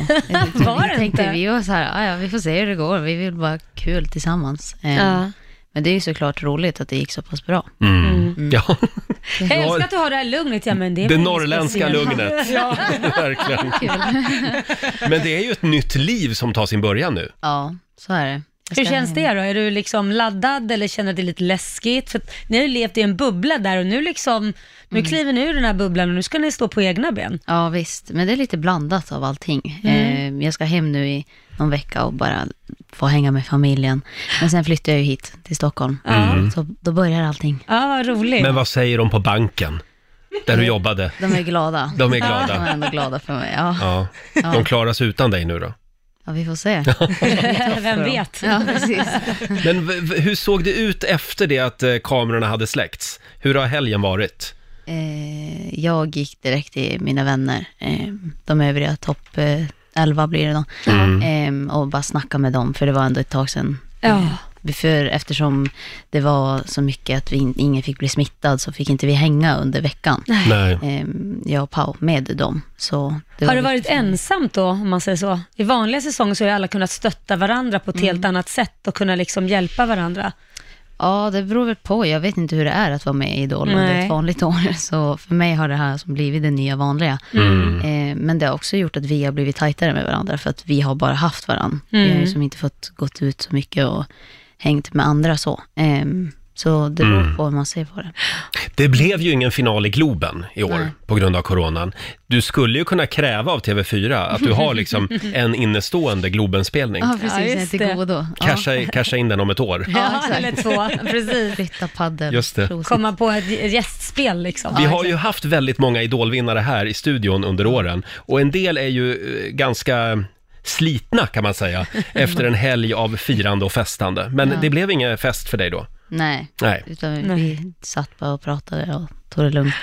Speaker 9: var
Speaker 4: det
Speaker 9: tänkte
Speaker 4: inte?
Speaker 9: Vi var så här, "Ah, ja, vi får se hur det går, vi vill bara ha kul tillsammans. Eh,
Speaker 4: Ja.
Speaker 9: Men det är ju såklart roligt att det gick så pass bra. Mm.
Speaker 1: Ja,
Speaker 4: Jag
Speaker 1: Ja.
Speaker 4: älskar att du har det här lugnet, ja men det är
Speaker 1: det
Speaker 4: väl inget
Speaker 1: norrländska
Speaker 4: speciellt.
Speaker 1: lugnet. verkligen. Men det är ju ett nytt liv som tar sin början nu.
Speaker 9: Ja, så är det. Jag
Speaker 4: Hur
Speaker 9: ska-
Speaker 4: känns det då? Är du liksom laddad eller känner att det är lite läskigt? För att ni har ju levt i en bubbla där och nu liksom, nu kliver ni ur den här bubblan och nu ska ni stå på egna ben.
Speaker 9: Mm. Ja, visst. Men det är lite blandat av allting. Eh, jag ska hem nu i någon vecka och bara få hänga med familjen. Men sen flyttar jag ju hit till Stockholm. Så då börjar allting.
Speaker 4: Ja, vad roligt.
Speaker 1: Men vad säger de på banken? Där du jobbade?
Speaker 9: De är glada.
Speaker 1: De är
Speaker 9: De
Speaker 1: glada.
Speaker 9: är ändå glada för mig. Ja, Mm.
Speaker 1: Ja. De klarar sig utan dig nu då.
Speaker 9: ja vi får se.
Speaker 4: Vem vet?
Speaker 9: Ja, precis.
Speaker 1: Men v- v- hur såg det ut efter det att eh, kamerorna hade släckts? Hur har helgen varit?
Speaker 9: Eh, jag gick direkt till mina vänner, eh, de övriga topp eh, 11 blir det då, eh, och bara snacka med dem, för det var ändå ett tag sedan. Eh,
Speaker 4: Ja.
Speaker 9: För eftersom det var så mycket att vi, in- ingen fick bli smittad, så fick inte vi hänga under veckan.
Speaker 1: Nej.
Speaker 9: Eh, jag och Pau med dem. Så det
Speaker 4: Har du
Speaker 9: var-
Speaker 4: varit ensamt då, om man säger så? I vanliga säsonger så har ju alla kunnat stötta varandra på ett
Speaker 9: Mm.
Speaker 4: helt annat sätt och kunna liksom hjälpa varandra.
Speaker 9: Ja, det beror väl på. Jag vet inte hur det är att vara med i Idol under
Speaker 4: Nej.
Speaker 9: ett vanligt år. Så för mig har det här som blivit det nya vanliga. Eh, men det har också gjort att vi har blivit tajtare med varandra, för att vi har bara haft varandra. Vi har
Speaker 4: Mm.
Speaker 9: ju som inte fått gått ut så mycket och hängt med andra så. Eh, så det beror på hur man ser på det.
Speaker 1: Det blev ju ingen final i Globen i år
Speaker 9: Nej.
Speaker 1: på grund av coronan. Du skulle ju kunna kräva av TV4 att du har liksom en innestående Globenspelning.
Speaker 9: Ja,
Speaker 4: precis.
Speaker 9: precis. Ja,
Speaker 4: just
Speaker 9: jag
Speaker 4: det.
Speaker 9: är godo.
Speaker 1: Casha, casha in den om ett år.
Speaker 9: Ja, exakt.
Speaker 4: eller två. Precis.
Speaker 9: Flytta paddel.
Speaker 1: Just det.
Speaker 9: prosit.
Speaker 4: Komma på ett gästspel liksom.
Speaker 1: Vi har ju haft väldigt många idolvinnare här i studion under åren och en del är ju eh, ganska slitna kan man säga efter en helg av firande och festande. Men det blev ingen fest för dig då?
Speaker 9: Nej.
Speaker 1: Nej.
Speaker 9: Utan
Speaker 4: Nej.
Speaker 9: vi satt bara och pratade och tog det lugnt.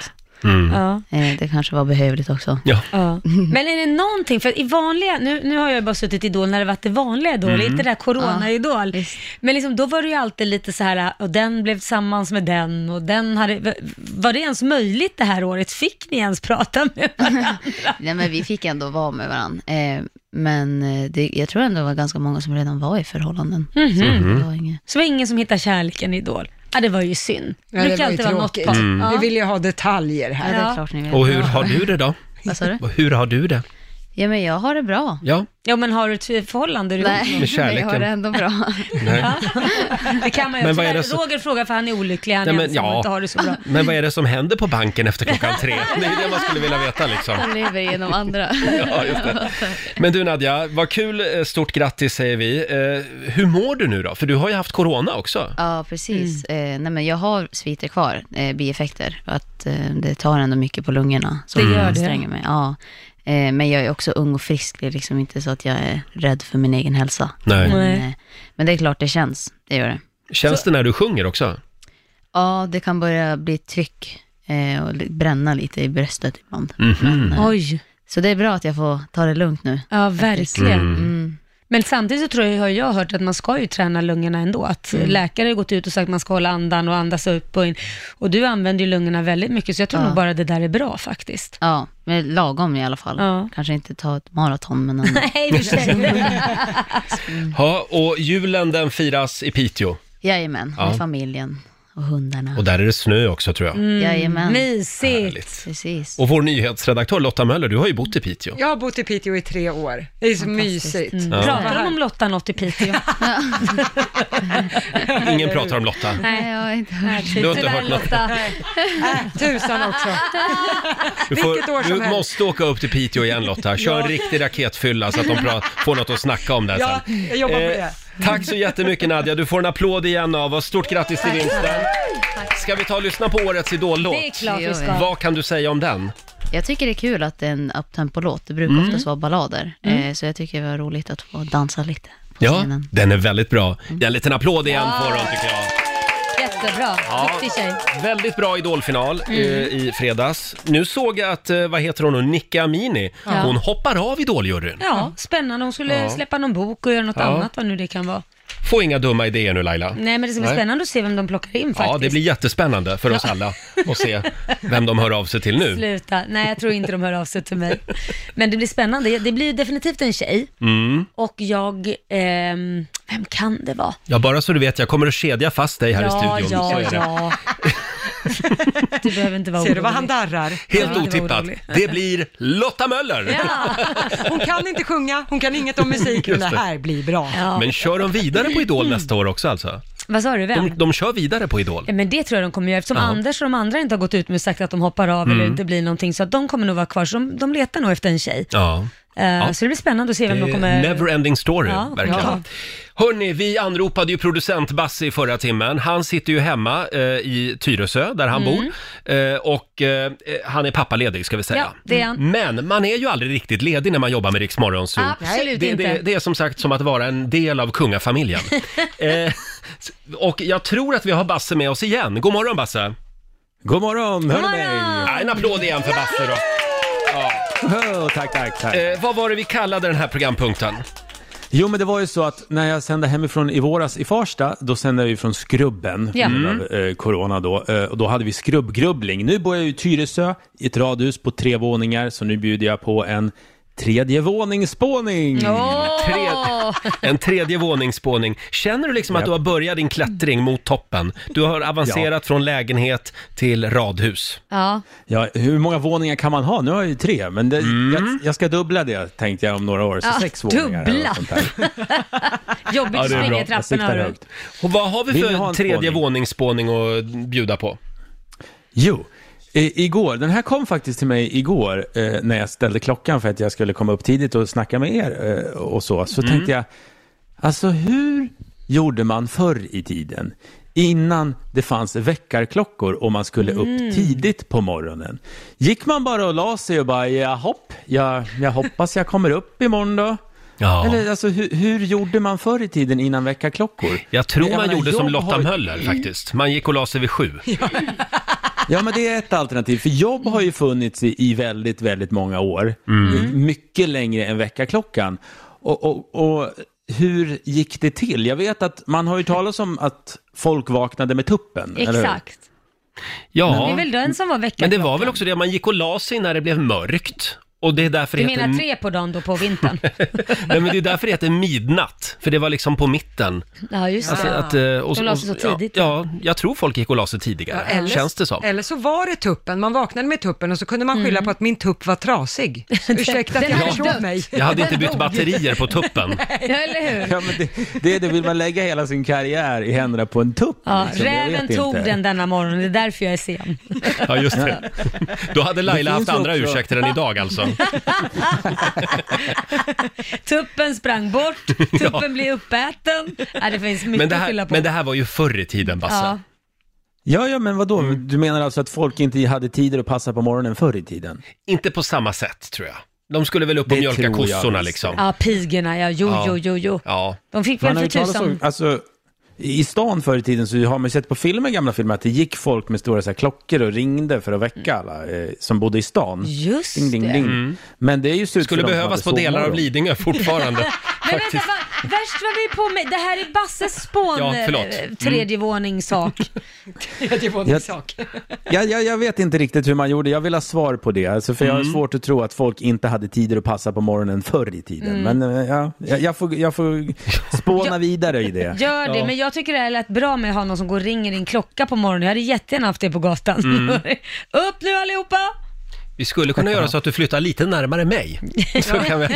Speaker 4: Ja.
Speaker 9: Eh, det kanske var behövligt också.
Speaker 1: Ja.
Speaker 4: Ja. Men är det någonting, för i vanliga, nu, nu har jag ju bara suttit i Idol när det varit det vanliga Idol, inte det där Corona-Idol.
Speaker 9: Mm. visst.
Speaker 4: men liksom, då var det ju alltid lite så här, och den blev tillsammans med den och den hade, var det ens möjligt det här året? Fick ni ens prata med varandra?
Speaker 9: Nej, men vi fick ändå vara med varandra. Eh, men eh, det, jag tror ändå det var ganska många som redan var i förhållanden. Så Mm.
Speaker 1: Mhm.
Speaker 9: det var inget.
Speaker 4: Mhm. Så det var ingen som hittade kärleken i Idol. Ja, det var ju synd.
Speaker 2: Ja, det var ju tråkigt.
Speaker 4: par.
Speaker 2: Vi
Speaker 4: Ja.
Speaker 2: vill ju ha detaljer
Speaker 9: Ja, det
Speaker 2: här.
Speaker 9: är
Speaker 4: Ja.
Speaker 9: klart ni vet.
Speaker 1: Mm. Och hur har du det då?
Speaker 9: Vad sa du?
Speaker 1: Och Hur har du det?
Speaker 9: Ja, men jag har det bra.
Speaker 1: Ja,
Speaker 4: ja, men har du ett förhållande? du-
Speaker 9: Nej,
Speaker 1: Med
Speaker 9: men
Speaker 1: kärleken.
Speaker 9: jag har det ändå bra.
Speaker 1: nej.
Speaker 4: Det kan man ju.
Speaker 1: Men vad är
Speaker 4: Tyvärr,
Speaker 1: det så-
Speaker 4: Roger frågar för han är olycklig, han
Speaker 1: Nej,
Speaker 4: är
Speaker 1: men
Speaker 4: ensam och
Speaker 1: ja.
Speaker 4: inte har det så bra.
Speaker 1: Men vad är det som händer på banken efter klockan tre? Det är ju det man skulle vilja veta liksom.
Speaker 9: Jag lever genom andra.
Speaker 1: Ja, just det. Men du Nadja, vad kul. eh, Stort grattis säger vi. Eh, hur mår du nu då? För du har ju haft corona också.
Speaker 9: Ja, precis. Eh, nej, men jag har sviter kvar, eh, bieffekter. och Att, eh, det tar ändå mycket på lungorna. Så
Speaker 4: Det
Speaker 9: det
Speaker 4: gör det.
Speaker 9: anstränger mig. Ja. Eh, men jag är också ung och frisk. Det är liksom inte så att jag är rädd för min egen hälsa.
Speaker 1: Nej.
Speaker 9: Men,
Speaker 4: Nej.
Speaker 9: eh, men det är klart det känns. Det gör det.
Speaker 1: Känns det när du sjunger också?
Speaker 9: Ja, det kan börja bli tryck eh, och li- bränna lite i bröstet ibland.
Speaker 1: Mhm.
Speaker 9: Men, eh,
Speaker 4: Oj.
Speaker 9: så det är bra att jag får ta det lugnt nu.
Speaker 4: Ja, verkligen.
Speaker 1: Mm.
Speaker 4: Men samtidigt så tror jag, har jag hört att man ska ju träna lungorna ändå. Att
Speaker 1: Mm.
Speaker 4: läkare har gått ut och sagt att man ska hålla andan och andas upp och in. Och du använder ju lungorna väldigt mycket, så jag tror nog bara det där är bra faktiskt.
Speaker 9: Ja, men lagom i alla fall.
Speaker 4: Ja.
Speaker 9: Mm. Kanske inte ta ett maraton, men ändå.
Speaker 4: Nej, du känner
Speaker 9: Mm.
Speaker 1: Ja, och julen den firas i Piteå.
Speaker 9: Jajamän,
Speaker 1: Ja.
Speaker 9: med familjen Mm. och hundarna.
Speaker 1: Och där är det snö också tror jag.
Speaker 9: Jajamän,
Speaker 4: Mm. Mysigt.
Speaker 1: Härligt.
Speaker 9: precis.
Speaker 1: Och vår nyhetsredaktör Lotta Möller, du har ju bott i Piteå.
Speaker 2: Jag har bott i Piteå i tre år. Det är så
Speaker 9: Fantastiskt.
Speaker 2: mysigt.
Speaker 4: Mm. Pratar de om Lotta något i Piteå?
Speaker 1: Ingen pratar om Lotta.
Speaker 9: Nej, jag har inte hört.
Speaker 1: Du har inte
Speaker 4: typ Tyvärr,
Speaker 1: hört något.
Speaker 4: Lotta.
Speaker 2: Äh, tusan också.
Speaker 1: Du, får,
Speaker 2: Vilket år som
Speaker 1: du
Speaker 2: helst.
Speaker 1: måste åka upp till Piteå igen Lotta. Kör en
Speaker 2: Ja.
Speaker 1: riktig raketfylla så att de pra- får något att snacka om där
Speaker 2: Ja,
Speaker 1: sen.
Speaker 2: jag jobbar på
Speaker 1: Eh,
Speaker 2: det.
Speaker 1: Tack så jättemycket Nadja, du får en applåd igen av oss. Stort grattis till vinsten. Ska vi ta och lyssna på årets
Speaker 4: Det är
Speaker 1: Idol-låt?
Speaker 4: klart vi ska.
Speaker 1: Vad kan du säga om den?
Speaker 9: Jag tycker det är kul att det är en uptempo-låt. Det
Speaker 1: Mm.
Speaker 9: brukar oftast vara ballader.
Speaker 4: Mm.
Speaker 9: Eh, så jag tycker det var roligt att få dansa lite på
Speaker 1: Ja,
Speaker 9: scenen.
Speaker 1: den är väldigt bra. Ge En liten applåd igen får hon tycker jag.
Speaker 4: Jättebra. Duktig tjej.
Speaker 1: Väldigt bra idolfinal eh,
Speaker 4: Mm.
Speaker 1: i fredags. Nu såg jag att, eh, vad heter hon nu, Nicki Amini, hon hoppar av idoljuryn.
Speaker 4: Ja, spännande. Hon skulle släppa någon bok och göra något
Speaker 1: Ja.
Speaker 4: annat, vad nu det kan vara.
Speaker 1: Få inga dumma idéer nu Laila.
Speaker 4: Nej, men det ska bli
Speaker 1: Nej.
Speaker 4: spännande att se vem de plockar in faktiskt.
Speaker 1: Ja, det blir jättespännande för oss alla att se vem de hör av sig till nu.
Speaker 4: Sluta. Nej, jag tror inte de hör av sig till mig. Men det blir spännande. Det blir ju definitivt en tjej.
Speaker 1: Mm.
Speaker 4: Och jag... ehm, vem kan det vara?
Speaker 1: Ja, bara så du vet, jag kommer att kedja fast dig här i studion. så
Speaker 4: ja,
Speaker 1: är det.
Speaker 4: ja. Du Eh, behöver inte vara
Speaker 2: Ser du vad
Speaker 4: orolig.
Speaker 2: han darrar?
Speaker 1: Helt
Speaker 4: Ja, det var
Speaker 1: otippat.
Speaker 4: orolig.
Speaker 1: Det blir Lotta Möller!
Speaker 4: Ja.
Speaker 2: Hon kan inte sjunga, hon kan inget om musik, men det
Speaker 1: Just det.
Speaker 2: här blir bra.
Speaker 4: Ja.
Speaker 1: Men kör de vidare på
Speaker 4: Mm.
Speaker 1: Idol nästa år också alltså?
Speaker 4: Vad sa du, vem?
Speaker 1: De, de kör vidare på Idol.
Speaker 4: Ja, Men det tror jag de kommer göra eftersom
Speaker 1: Ja. Mm.
Speaker 4: Anders och de andra inte har gått ut med och sagt att de hoppar av eller inte blir någonting. Så att de kommer nog vara kvar. Så de, de letar nog efter en tjej.
Speaker 1: Ja.
Speaker 4: Eh, Så det blir spännande att se vem de kommer...
Speaker 1: Neverending story,
Speaker 4: Ja,
Speaker 1: verkligen.
Speaker 4: ja.
Speaker 1: Hörni, vi anropade ju producent Basse i förra timmen. Han sitter ju hemma eh, i Tyresö, där han bor. Eh, och eh, han är pappaledig, ska vi säga.
Speaker 4: Mm.
Speaker 1: Mm.
Speaker 4: Ja, det är han.
Speaker 1: Men man är ju aldrig riktigt ledig när man jobbar med Rix Morgonzoo.
Speaker 4: Absolut
Speaker 1: det,
Speaker 4: inte.
Speaker 1: det, det är som sagt som att vara en del av kungafamiljen. eh, och jag tror att vi har Basse med oss igen. God morgon Basse!
Speaker 8: God morgon, hör
Speaker 4: God
Speaker 8: ni mig?
Speaker 4: morgon!
Speaker 1: Ja, en applåd igen för Basse då.
Speaker 8: Oh, tack, tack, tack.
Speaker 1: Eh, vad var det vi kallade den här programpunkten?
Speaker 8: Jo, men det var ju så att när jag sände hemifrån i våras i Farsta, då sände vi från Skrubben,
Speaker 4: Ja. Mm.
Speaker 8: på grund av eh, corona då, eh, och då hade vi skrubbgrubbling. Nu bor jag ju i Tyresö, i ett radhus på tre våningar, så nu bjuder jag på en tredje våningsspåning.
Speaker 4: Åh!
Speaker 1: Tre- En tredje våningsspåning. Känner du liksom att
Speaker 8: Japp.
Speaker 1: du har börjat din klättring mot toppen? Du har avancerat från lägenhet till radhus.
Speaker 4: Ja,
Speaker 8: Ja, hur många våningar kan man ha? Nu har jag ju tre, men det, jag, jag ska dubbla det tänkte jag om några år, så
Speaker 4: Mm. Ja,
Speaker 8: sex våningar. eller
Speaker 4: dubbla.
Speaker 8: något sånt där.
Speaker 4: jobbigt
Speaker 1: Ja,
Speaker 4: att
Speaker 1: det är
Speaker 4: springa
Speaker 1: bra.
Speaker 4: i
Speaker 8: Jag
Speaker 4: trapporna.
Speaker 8: siktar
Speaker 4: hörru.
Speaker 8: högt.
Speaker 1: Och vad har vi
Speaker 8: Vill ni ha
Speaker 1: för
Speaker 8: en
Speaker 1: tredje
Speaker 8: spåning?
Speaker 1: våningsspåning att bjuda på?
Speaker 8: Jo, eh, igår, den här kom faktiskt till mig igår eh, när jag ställde klockan för att jag skulle komma upp tidigt och snacka med er eh, och så. Så tänkte jag, alltså hur gjorde man förr i tiden? Innan det fanns väckarklockor och man skulle upp tidigt på morgonen. Gick man bara och la sig och bara, ja hopp, jag, jag hoppas jag kommer upp imorgon då.
Speaker 1: Ja.
Speaker 8: Eller alltså hur, hur gjorde man förr i tiden innan väckarklockor?
Speaker 1: Jag tror
Speaker 8: Jag
Speaker 1: man
Speaker 8: menar,
Speaker 1: gjorde som
Speaker 8: jag
Speaker 1: Lotta
Speaker 8: har-
Speaker 1: Möller faktiskt. Man gick och la sig vid sju.
Speaker 8: Ja, men det är ett alternativ. För jobb har ju funnits i, i väldigt, väldigt många år. I-
Speaker 1: Mm.
Speaker 8: Mycket längre än veckaklockan. Och, och, och hur gick det till? Jag vet att man har ju talat om att folk vaknade med tuppen. eller hur?
Speaker 4: Exakt. Det är
Speaker 1: Ja,
Speaker 4: väl den som var
Speaker 1: men
Speaker 4: veckan.
Speaker 1: det var väl också det, man gick och la sig när det blev mörkt. Och det är därför
Speaker 4: Du
Speaker 1: det heter...
Speaker 4: menar tre på dagen då på vintern?
Speaker 1: Nej, men det är därför det heter midnatt. För det var liksom på mitten.
Speaker 4: Ja, just
Speaker 1: Alltså
Speaker 4: det.
Speaker 1: att, eh, och,
Speaker 4: De la sig så
Speaker 1: ja,
Speaker 4: tidigt.
Speaker 1: Ja, jag tror folk gick och la sig tidigare, känns det som.
Speaker 2: Eller så var det tuppen, man vaknade med tuppen och så kunde man skylla på att min tupp var trasig. Ursäkta att
Speaker 4: Mm. Den
Speaker 2: jag
Speaker 4: hade
Speaker 2: försov
Speaker 4: dött.
Speaker 2: mig.
Speaker 1: Jag hade inte bytt batterier på tuppen.
Speaker 4: Ja, eller hur?
Speaker 8: Ja, men det, det är det. Vill man lägga hela sin karriär i händerna på en tupp?
Speaker 4: Ja,
Speaker 8: liksom? Jag
Speaker 4: räven
Speaker 8: vet
Speaker 4: tog
Speaker 8: inte.
Speaker 4: den denna morgon, det är därför jag är sen.
Speaker 1: Ja, just det. Då hade Laila
Speaker 8: Det
Speaker 1: haft
Speaker 8: finns
Speaker 1: andra
Speaker 8: också-
Speaker 1: ursäkter än idag alltså.
Speaker 4: Tuppen sprang bort, tuppen blev uppäten. Ja, det finns
Speaker 1: Men
Speaker 4: mycket
Speaker 1: det,
Speaker 4: att skylla
Speaker 1: här,
Speaker 4: på.
Speaker 1: men det här var ju förr i tiden, Basse. Mm.
Speaker 4: ja.
Speaker 8: Ja, ja, men vadå? Du menar alltså att folk inte hade tider att passa på morgonen förr i tiden?
Speaker 1: Inte på samma sätt, tror jag. De skulle väl upp och
Speaker 8: Det tror
Speaker 1: mjölka
Speaker 8: jag
Speaker 1: kossorna
Speaker 8: visst.
Speaker 1: liksom.
Speaker 4: ja, pigorna ja. Jo,
Speaker 1: Ja.
Speaker 4: jo, jo, jo.
Speaker 1: Ja.
Speaker 4: De fick
Speaker 8: Man
Speaker 4: väl
Speaker 8: har
Speaker 4: för
Speaker 8: ju talat om,
Speaker 4: tusan...
Speaker 8: alltså, i stan förr i tiden så har man ju sett på filmer, gamla filmer, att det gick folk med stora så här, klockor och ringde för att väcka alla eh, som bodde i stan.
Speaker 4: Mm. Just
Speaker 8: ding, ding,
Speaker 4: det.
Speaker 8: ding. Men det är ju slut
Speaker 1: Skulle
Speaker 8: för dem som
Speaker 1: behövas
Speaker 8: hade
Speaker 1: på delar av
Speaker 8: sovmorgon.
Speaker 1: Lidingö fortfarande.
Speaker 4: Men vänta,
Speaker 1: faktiskt.
Speaker 4: va- Värst var vi på med, det här är Basses spån,
Speaker 1: Ja, förlåt.
Speaker 4: eh, tredje våning sak.
Speaker 2: Tredje våningssak.
Speaker 8: Jag, jag, jag vet inte riktigt hur man gjorde, jag vill ha svar på det. Alltså, för
Speaker 1: Mm.
Speaker 8: jag har svårt att tro att folk inte hade tider att passa på morgonen förr i tiden.
Speaker 4: Mm.
Speaker 8: Men eh, ja, jag, jag, får, jag får spåna vidare i det.
Speaker 4: Gör det, men jag tycker det här lät bra med att ha någon som går och ringer din klocka på morgonen. Jag hade jättegärna haft det på gatan. Upp nu allihopa!
Speaker 1: Vi skulle kunna göra så att du flyttar lite närmare mig. Så kan vi,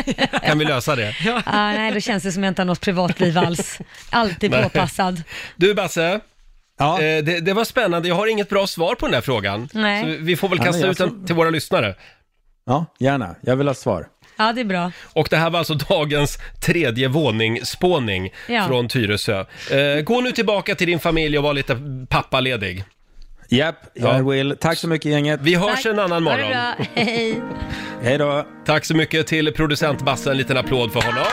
Speaker 1: kan vi lösa det.
Speaker 4: Ah, nej, då känns det som jag inte har något privatliv alls. Alltid
Speaker 1: Nej.
Speaker 4: påpassad.
Speaker 1: Du Basse,
Speaker 8: Ja.
Speaker 1: eh, det, det var spännande. Jag har inget bra svar på den här frågan.
Speaker 4: Nej.
Speaker 1: Så vi får väl
Speaker 8: Ja, men
Speaker 1: kasta
Speaker 8: jag
Speaker 1: ut den
Speaker 8: tror-
Speaker 1: till våra lyssnare.
Speaker 8: ja, gärna. Jag vill ha svar.
Speaker 4: Ja, det är bra.
Speaker 1: Och det här var alltså dagens tredje våningsspåning
Speaker 4: Ja.
Speaker 1: från Tyresö. Eh, gå nu tillbaka till din familj och var lite pappaledig.
Speaker 8: Japp,
Speaker 1: Ja.
Speaker 8: jag vill. Tack så mycket gänget.
Speaker 1: Vi hörs
Speaker 4: Tack.
Speaker 1: en annan
Speaker 4: Ha det
Speaker 1: morgon.
Speaker 4: bra. Hej.
Speaker 8: Hej då.
Speaker 1: Tack så mycket till producent Basse, en liten applåd för honom.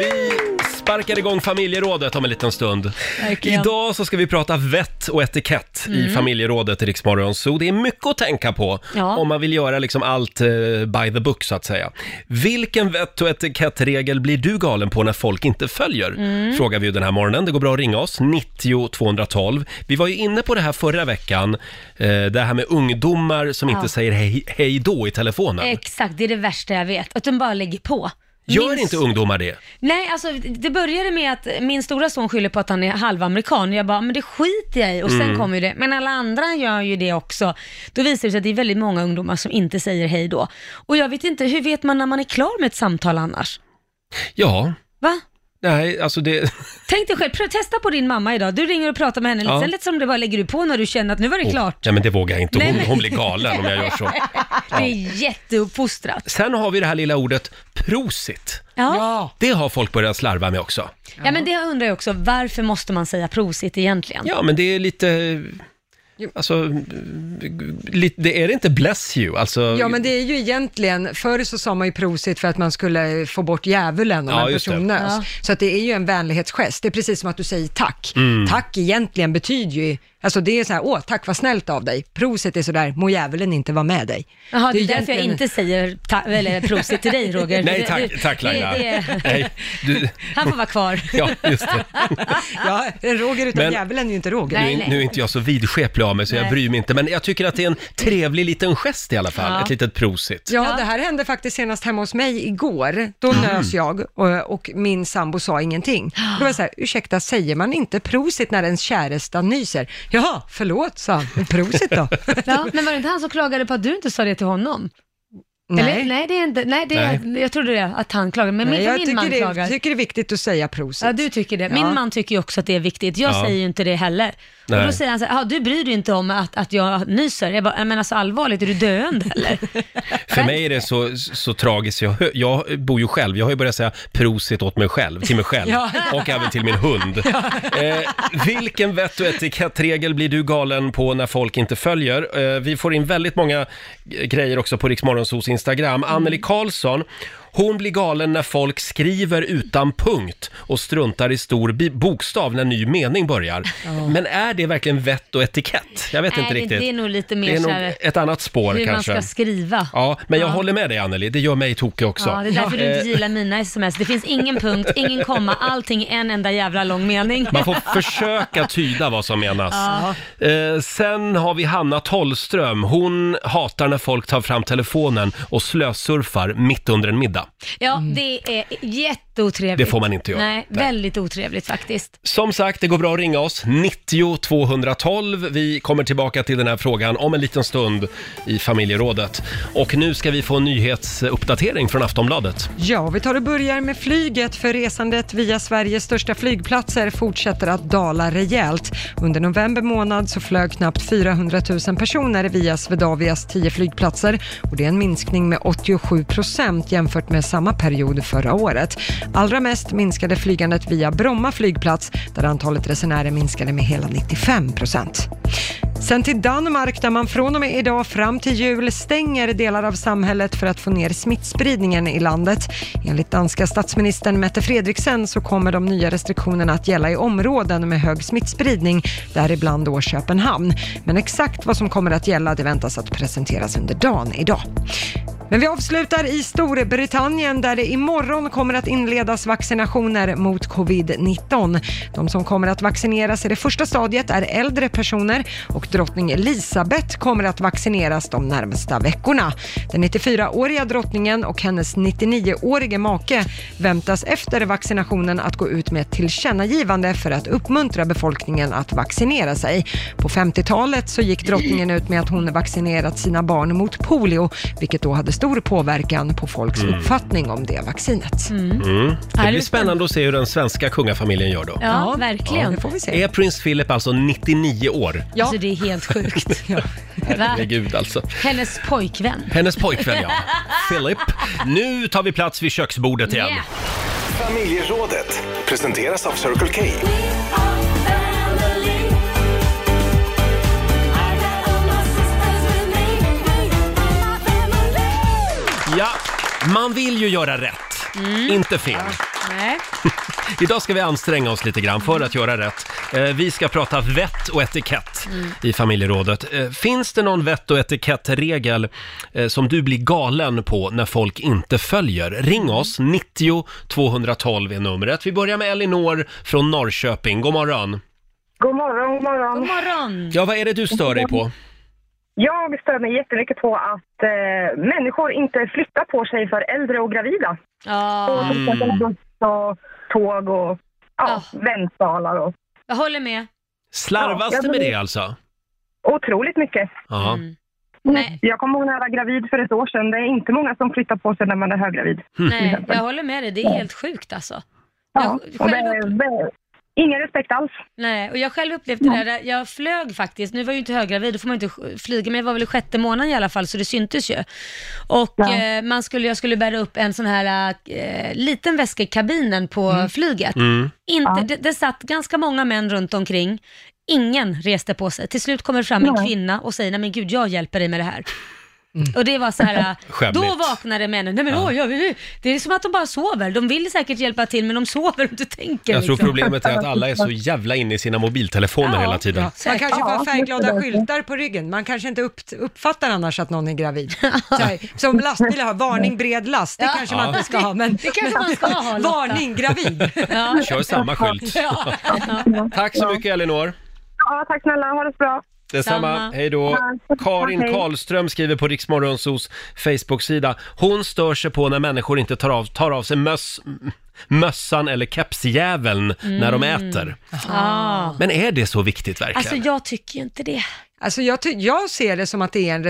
Speaker 1: Vi sparkar igång familjerådet om en liten stund.
Speaker 4: Verkligen. Mm.
Speaker 1: Idag så ska vi prata vett och etikett i familjerådet i Rix Morgon Zoo. Det är mycket att tänka på
Speaker 4: Ja.
Speaker 1: om man vill göra liksom allt eh, by the book så att säga. Vilken vett och etikettregel blir du galen på när folk inte följer?
Speaker 4: Mm.
Speaker 1: Frågar vi ju den här morgonen. Det går bra att ringa oss, 90 212. Vi var ju inne på det här förra veckan, eh, det här med ungdomar som inte
Speaker 4: Ja. Eh,
Speaker 1: säger hej, hej då i telefonen.
Speaker 4: Exakt, det är det värsta jag vet. Att de bara lägger på.
Speaker 1: Gör
Speaker 4: Min
Speaker 1: inte ungdomar det?
Speaker 4: Nej, alltså det började med att min stora son skyller på att han är halvamerikan. Jag bara, men det skiter jag i. Och sen
Speaker 1: Mm.
Speaker 4: kommer ju det. Men alla andra gör ju det också. Då visar det sig att det är väldigt många ungdomar som inte säger hej då. Och jag vet inte, hur vet man när man är klar med ett samtal annars?
Speaker 1: Ja,
Speaker 4: Va?
Speaker 1: nej, alltså det...
Speaker 4: Tänk dig själv, pröv, testa på din mamma idag. Du ringer och pratar med henne lite,
Speaker 1: Ja. Oh.
Speaker 4: sen lite som det bara lägger du på när du känner att nu var det klart.
Speaker 1: Nej, men det vågar jag inte.
Speaker 4: Nej,
Speaker 1: Hon,
Speaker 4: men-
Speaker 1: hon blir galen om jag gör så.
Speaker 4: Det är jätteuppfostrat.
Speaker 1: Sen har vi det här lilla ordet prosit.
Speaker 4: Ja. Ja.
Speaker 2: Ja.
Speaker 1: Det har folk börjat slarva med också.
Speaker 4: men det undrar jag också, varför måste man säga prosit egentligen?
Speaker 1: Ja, men det är lite... Alltså, lite, det är det inte bless you? Alltså,
Speaker 2: Ja men det är ju egentligen, förr så sa man ju prosit för att man skulle få bort djävulen om
Speaker 1: Ja,
Speaker 2: en
Speaker 1: just det.
Speaker 2: person nös.
Speaker 4: Ja.
Speaker 2: Så att det är ju en vänlighetsgest, det är precis som att du säger tack.
Speaker 1: Mm.
Speaker 2: Tack egentligen betyder ju, alltså det är så här, åh tack vad snällt av dig. Prosit är sådär, må djävulen inte vara med dig.
Speaker 4: Jaha, det är
Speaker 2: ju
Speaker 4: därför jag
Speaker 2: egentligen-
Speaker 4: inte säger ta- eller prosit till dig Roger.
Speaker 1: Nej,
Speaker 4: Det-
Speaker 1: tack, tack Laila.
Speaker 4: det- det-
Speaker 1: Nej, du,
Speaker 4: Han får vara kvar.
Speaker 1: ja, just det.
Speaker 2: Ja, en Roger utan
Speaker 1: Men-
Speaker 2: djävulen är ju inte Roger.
Speaker 1: Nu,
Speaker 4: Nej,
Speaker 1: är-
Speaker 4: nej.
Speaker 1: nu är inte jag så vidskeplig av mig så jag
Speaker 4: Nej.
Speaker 1: bryr mig inte, men jag tycker att det är en trevlig liten gest i alla fall.
Speaker 4: Ja.
Speaker 1: Ett litet prosit.
Speaker 2: Ja,
Speaker 4: Ja.
Speaker 2: det här hände faktiskt senast hemma hos mig igår. Då nös jag och, och min sambo sa ingenting. Då var jag så här, ursäkta, säger man inte prosit när ens käresta nyser? Jaha, förlåt, sa han. Prosit då.
Speaker 4: Ja, men var det inte han som klagade på att du inte sa det till honom? Eller? Nej, det är inte, nej, det är, jag trodde det, att han klagade, men
Speaker 2: Nej,
Speaker 4: min,
Speaker 2: jag
Speaker 4: min man
Speaker 2: tycker det,
Speaker 4: klagar.
Speaker 2: är, tycker det är viktigt att säga prosit.
Speaker 4: Ja, du tycker det. Min
Speaker 2: Ja.
Speaker 4: man tycker ju också att det är viktigt. Jag
Speaker 1: Ja.
Speaker 4: säger ju inte det heller. Och
Speaker 1: Nej.
Speaker 4: då säger han så här, "Ah, du bryr dig inte om att, att jag nyser. Jag bara, men alltså allvarligt, är du döende eller?
Speaker 1: För mig är det så, så tragiskt. Jag, hö- jag bor ju själv. Jag har ju börjat säga prosit åt mig själv, till mig själv och även till min hund. Eh, vilken vett och etikettregel blir du galen på när folk inte följer? Eh, vi får in väldigt många g- grejer också på Riksmorgonsos Instagram.
Speaker 4: Mm.
Speaker 1: Anneli Karlsson, hon blir galen när folk skriver utan punkt och struntar i stor bi- bokstav när ny mening börjar. Men är det verkligen vett och etikett? Jag vet inte
Speaker 4: Nej, det-
Speaker 1: riktigt.
Speaker 4: det är nog lite mer
Speaker 1: Det är
Speaker 4: så
Speaker 1: nog
Speaker 4: här-
Speaker 1: ett annat spår
Speaker 4: Hur man
Speaker 1: kanske.
Speaker 4: ska skriva.
Speaker 1: Ja, men jag håller med dig Anneli, det gör mig tokig också. Eh,
Speaker 4: Ja, det är därför du inte gillar mina sms. Det finns ingen punkt, ingen komma, allting i en enda jävla lång mening.
Speaker 1: Man får försöka tyda vad som menas. Eh, sen har vi Hanna Tollström. Hon hatar när folk tar fram telefonen och slösurfar mitt under en middag.
Speaker 4: Ja, det är jätteotrevligt.
Speaker 1: Mm. Det får man inte göra.
Speaker 4: Nej, väldigt otrevligt faktiskt.
Speaker 1: Som sagt, det går bra att ringa oss. 90 212. Vi kommer tillbaka till den här frågan om en liten stund i familjerådet. Och nu ska vi få en nyhetsuppdatering från Aftonbladet.
Speaker 2: Ja, vi tar och börjar med flyget för resandet via Sveriges största flygplatser fortsätter att dala rejält. Under november månad så flög knappt 400 000 personer via Swedavias 10 flygplatser och det är en minskning med 87 procent jämfört med samma period förra året. Allra mest minskade flygandet via Bromma flygplats där antalet resenärer minskade med hela 95 procent. Sen till Danmark där man från och med idag fram till jul stänger delar av samhället för att få ner smittspridningen i landet. Enligt danska statsministern Mette Fredriksen så kommer de nya restriktionerna att gälla i områden med hög smittspridning, däribland då Köpenhamn. Men exakt vad som kommer att gälla det väntas att presenteras under dagen idag. Men vi avslutar i Storbritannien där det imorgon kommer att inledas vaccinationer mot covid-19. De som kommer att vaccineras i det första stadiet är äldre personer och drottning Elisabeth kommer att vaccineras de närmsta veckorna. Den 94-åriga drottningen och hennes 99-årige make väntas efter vaccinationen att gå ut med ett tillkännagivande för att uppmuntra befolkningen att vaccinera sig. På 50-talet så gick drottningen ut med att hon vaccinerat sina barn mot polio, vilket då hade stor påverkan på folks uppfattning om det vaccinet.
Speaker 4: Mm.
Speaker 1: Mm. Det blir spännande att se hur den svenska kungafamiljen gör då.
Speaker 4: Ja, verkligen.
Speaker 2: Det får vi se.
Speaker 1: Är prins Philip alltså 99 år?
Speaker 2: Ja.
Speaker 4: Alltså det är helt sjukt. Va?
Speaker 1: Herregud alltså.
Speaker 4: Hennes pojkvän.
Speaker 1: Hennes pojkvän ja, Philip. Nu tar vi plats vid köksbordet igen.
Speaker 4: Yeah.
Speaker 3: Familjerådet presenteras av Circle K.
Speaker 1: Ja, man vill ju göra rätt, inte fel.
Speaker 4: Nej.
Speaker 1: Idag ska vi anstränga oss lite grann för att göra rätt. Eh, Vi ska prata vett och etikett i familjerådet. Eh, Finns det någon vett och etikettregel eh, som du blir galen på när folk inte följer? Ring oss, 90 212 är numret. Vi börjar med Elinor från Norrköping. God morgon.
Speaker 10: God morgon,
Speaker 4: God
Speaker 10: god morgon.
Speaker 4: morgon.
Speaker 1: Ja, vad är det du stör dig på?
Speaker 10: Jag stör mig jättemycket på att eh, människor inte flyttar på sig för äldre och gravida.
Speaker 4: Ja,
Speaker 10: Och mm. och tåg och
Speaker 4: Ah.
Speaker 10: ja, väntsalar och
Speaker 4: jag håller med.
Speaker 1: Slarvas
Speaker 10: Ja,
Speaker 1: det
Speaker 10: jag
Speaker 1: med
Speaker 10: blir-
Speaker 1: det alltså?
Speaker 10: otroligt mycket.
Speaker 1: Ja.
Speaker 4: Mm. Nej,
Speaker 10: Jag kommer ihåg när jag var gravid för ett år sedan. Det är inte många som flyttar på sig när man är höggravid.
Speaker 4: nej, jag håller med dig. Det är helt sjukt alltså.
Speaker 10: Mm. Ja,
Speaker 4: Jag-
Speaker 10: och det,
Speaker 4: själv-
Speaker 10: är- det, är ingen respekt alls.
Speaker 4: Nej, och jag själv upplevde det där, jag flög faktiskt, nu var jag ju inte höggravid, då får man ju inte flyga, men jag var väl i sjätte månaden i alla fall, så det syntes ju. Och
Speaker 10: Ja.
Speaker 4: eh, man skulle, jag skulle bära upp en sån här eh, liten väska i kabinen på
Speaker 1: Mm.
Speaker 4: flyget.
Speaker 8: Mm.
Speaker 4: Inte, det, det satt ganska många män runt omkring, ingen reste på sig. Till slut kommer fram en kvinna och säger, nej men gud, jag hjälper dig med det här. Och det var så här, eh,
Speaker 1: Mm. Skämmigt.
Speaker 4: då vaknade männen, nej men oj, oj, oj, det är som att de bara sover. De vill säkert hjälpa till, men de sover och inte tänker.
Speaker 1: Jag tror
Speaker 4: liksom.
Speaker 1: problemet är att alla är så jävla inne i sina mobiltelefoner
Speaker 4: Ja.
Speaker 1: hela tiden.
Speaker 2: Man
Speaker 4: Säkert.
Speaker 2: kanske får
Speaker 10: Ja,
Speaker 2: färgglada
Speaker 10: det.
Speaker 2: skyltar på ryggen. Man kanske inte upp, uppfattar annars att någon är gravid. Så här, som lastbilar har, varning bred last. Det kanske man inte ska ha. Men,
Speaker 4: Det kanske man ska ha, Lotta.
Speaker 2: Varning gravid.
Speaker 4: Ja.
Speaker 1: Kör samma skylt.
Speaker 4: Ja.
Speaker 1: Tack så mycket Elinor.
Speaker 10: Ja, tack snälla. Ha det så bra.
Speaker 1: Detsamma,
Speaker 4: Samma.
Speaker 1: hej då.
Speaker 10: Ja.
Speaker 1: Karin
Speaker 10: Hej.
Speaker 1: Karlström skriver på Riksmorgonsos Facebook-sida. Hon stör sig på när människor inte tar av, tar av sig möss, m- mössan eller kepsjäveln när de äter.
Speaker 4: Ah.
Speaker 1: Men är det så viktigt verkligen?
Speaker 4: Mm. Alltså jag tycker ju inte det.
Speaker 2: Alltså jag, ty- jag ser det som att det är en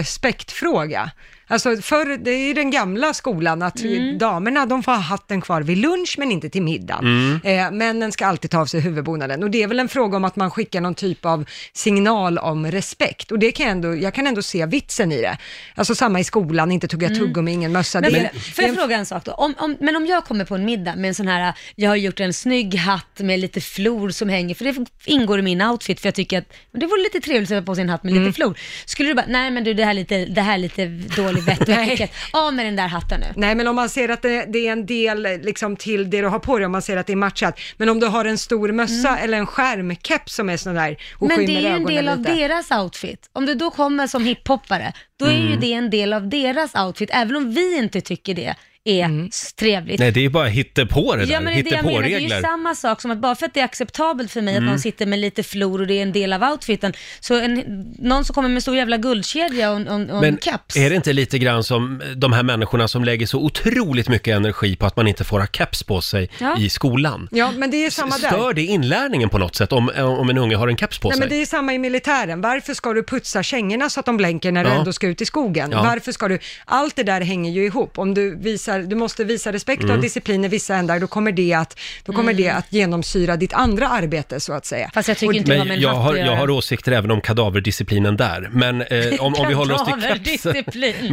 Speaker 2: respektfråga. Alltså förr, det är ju den gamla skolan att
Speaker 4: Mm.
Speaker 2: damerna de får ha hatten kvar vid lunch men inte till middagen. Eh, männen ska alltid ta av sig huvudbonaden och det är väl en fråga om att man skickar någon typ av signal om respekt och det kan jag ändå, jag kan ändå se vitsen i det. Alltså samma i skolan, inte tugga tuggummi, ingen mössa.
Speaker 4: Mm. Men,
Speaker 2: det är-
Speaker 4: får jag fråga en sak då? Om, om, men om jag kommer på en middag med en sån här, jag har gjort en snygg hatt med lite flor som hänger, för det ingår i min outfit, för jag tycker att men det vore lite trevligt att sätta på sig en hatt med
Speaker 2: Mm.
Speaker 4: lite flor. Skulle du bara, nej men du det här är lite, det här är lite dålig vett och etikett. av med den där hatten nu.
Speaker 2: Nej, men om man ser att det, det är en del eh, liksom, till det du har på dig, om man ser att det är matchat. Men om du har en stor mössa eller en skärmkeps som är sån där och
Speaker 4: Mm. Men det
Speaker 2: skymmer
Speaker 4: är ju en
Speaker 2: ögonen
Speaker 4: del av
Speaker 2: lite.
Speaker 4: deras outfit. Om du då kommer som hiphoppare, då är
Speaker 2: Mm.
Speaker 4: ju det en del av deras outfit, även om vi inte tycker det är
Speaker 2: Mm.
Speaker 4: trevligt.
Speaker 1: Nej, det är ju bara hittepå det där.
Speaker 4: Ja, men det, är det, jag menar, det är ju
Speaker 1: Hittepåregler. Mm.
Speaker 4: samma sak som att bara för att det är acceptabelt för mig att någon sitter med lite flor och det är en del av outfiten, så en, någon som kommer med en stor jävla guldkedja och, en- och, en- och en
Speaker 1: Men
Speaker 4: keps.
Speaker 1: är det inte lite grann som de här människorna som lägger så otroligt mycket energi på att man inte får ha keps på sig
Speaker 4: Ja.
Speaker 1: i skolan?
Speaker 2: Ja, men det är samma där.
Speaker 1: Stör det inlärningen på något sätt om, om en unge har en keps på
Speaker 2: Nej,
Speaker 1: sig?
Speaker 2: men det är samma i militären. Varför ska du putsa kängorna så att de blänker när du
Speaker 1: Ja.
Speaker 2: ändå ska ut i skogen?
Speaker 1: Ja.
Speaker 2: Varför ska du... Allt det där hänger ju ihop. Om du, visar, du måste visa respekt
Speaker 1: Mm.
Speaker 2: och disciplin i vissa ändar, då kommer, det att, då kommer det att genomsyra ditt andra arbete, så att säga.
Speaker 4: Mm. Fast jag tycker inte det har med
Speaker 1: Men
Speaker 4: en
Speaker 1: jag
Speaker 4: hatt
Speaker 1: har,
Speaker 4: att
Speaker 1: jag har
Speaker 4: göra.
Speaker 1: åsikter även om kadaverdisciplinen där. Men eh, om, om vi håller oss till kepsen.
Speaker 4: Kadaverdisciplinen.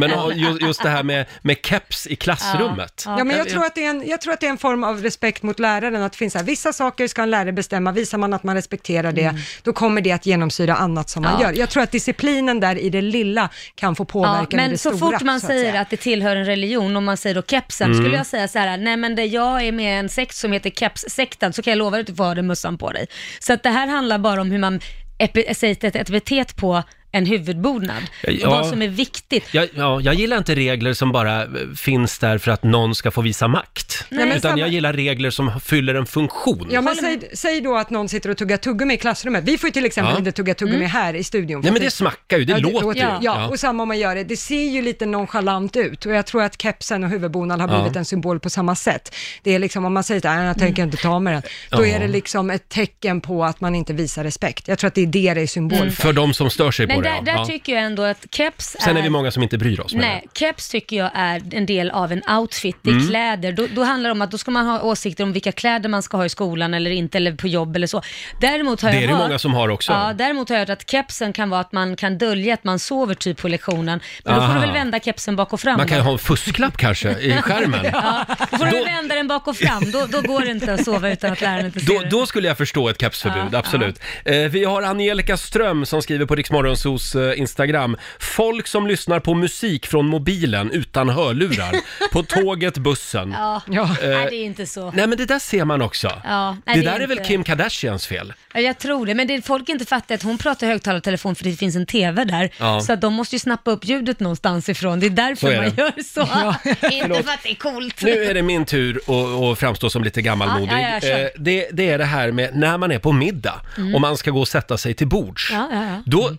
Speaker 1: Men om- ju- just det här med, med keps i klassrummet.
Speaker 2: Ja, men jag tror, att det är en, jag tror att det är en form av respekt mot läraren, att det finns så här, vissa saker ska en lärare bestämma, visar man att man respekterar det, då kommer det att genomsyra annat som man
Speaker 4: Mm. Ja.
Speaker 2: gör. Jag tror att disciplinen där i det lilla kan få påverkan
Speaker 4: Ja,
Speaker 2: i det
Speaker 4: men så
Speaker 2: stora.
Speaker 4: fort man
Speaker 2: så att
Speaker 4: säger
Speaker 2: säga.
Speaker 4: att, det tillhör en religion, om man säger då kepsen,
Speaker 1: Mm.
Speaker 4: skulle jag säga så här, nej men det, jag är med i en sekt som heter kepssekten, så kan jag lova dig att du får ha den mössan på dig. Så att det här handlar bara om hur man epi- säger ett- ett epitet på en huvudbonad.
Speaker 1: Ja.
Speaker 4: Och vad som är viktigt.
Speaker 1: Jag, ja, jag gillar inte regler som bara eh, finns där för att någon ska få visa makt.
Speaker 2: Nej, men
Speaker 1: Utan
Speaker 2: samma-
Speaker 1: jag gillar regler som fyller en funktion.
Speaker 2: Ja, men säg, säg då att någon sitter och tuggar tuggummi i klassrummet. Vi får ju till exempel
Speaker 1: Ja.
Speaker 2: inte tugga tuggummi
Speaker 1: Mm.
Speaker 2: här i studion.
Speaker 1: Nej, men
Speaker 2: För
Speaker 1: det smackar ju, det låter ju.
Speaker 2: Ja.
Speaker 1: Ja.
Speaker 2: och samma om man gör det. Det ser ju lite nonchalant ut och jag tror att kepsen och huvudbonad har
Speaker 1: Ja.
Speaker 2: blivit en symbol på samma sätt. Det är liksom, om man säger att jag tänker inte ta med den, då
Speaker 1: Mm. Ja.
Speaker 2: är det liksom ett tecken på att man inte visar respekt. Jag tror att det är det det är symbol för.
Speaker 1: För de som stör sig
Speaker 4: Mm. Men
Speaker 1: på det.
Speaker 4: där,
Speaker 1: ja.
Speaker 4: där
Speaker 1: ja.
Speaker 4: tycker jag ändå att keps
Speaker 1: Sen är vi många som inte bryr oss. med
Speaker 4: Nej, keps tycker jag är en del av en outfit, det är
Speaker 1: Mm.
Speaker 4: kläder. Då, då handlar det om att då ska man ha åsikter om vilka kläder man ska ha i skolan eller inte, eller på jobb eller så. Däremot har
Speaker 1: Det
Speaker 4: jag
Speaker 1: är det
Speaker 4: hört,
Speaker 1: många som har också.
Speaker 4: Ja, däremot har jag hört att kepsen kan vara att man kan dölja att man sover typ på lektionen. Men då får du
Speaker 1: Aha.
Speaker 4: väl vända kepsen bak och fram.
Speaker 1: Man kan ju
Speaker 4: då.
Speaker 1: ha en fusklapp kanske i skärmen.
Speaker 4: ja, då får du väl vända den bak och fram, då, då går det inte att sova utan att läraren inte ser
Speaker 1: Då,
Speaker 4: det.
Speaker 1: då skulle jag förstå ett kepsförbud,
Speaker 4: Ja,
Speaker 1: absolut. Eh, vi har Angelica Ström som skriver på Riksmorgonsos eh, Instagram. Folk som lyssnar på musik från mobilen utan hörlurar. på tåget, bussen.
Speaker 4: Ja,
Speaker 1: Eh,
Speaker 4: nej det är inte så.
Speaker 1: Nej men det där ser man också.
Speaker 4: Ja, nej,
Speaker 1: det,
Speaker 4: det är
Speaker 1: där är väl
Speaker 4: inte-
Speaker 1: Kim Kardashians fel?
Speaker 4: Ja, jag tror det, men det folk inte fattar är att hon pratar i högtalartelefon för det finns en TV där.
Speaker 1: Ja.
Speaker 4: Så att de måste ju snappa upp ljudet någonstans ifrån. Det är därför
Speaker 1: Så är
Speaker 4: man
Speaker 1: det.
Speaker 4: gör så. inte för att det är coolt.
Speaker 1: Nu är det min tur att, att framstå som lite gammalmodig.
Speaker 4: Ja, ja, ja, kör.
Speaker 1: Eh, det, det är det här med när man är på middag
Speaker 4: Mm.
Speaker 1: och man ska gå och sätta sig till bords.
Speaker 4: Ja, ja, ja.
Speaker 1: Då,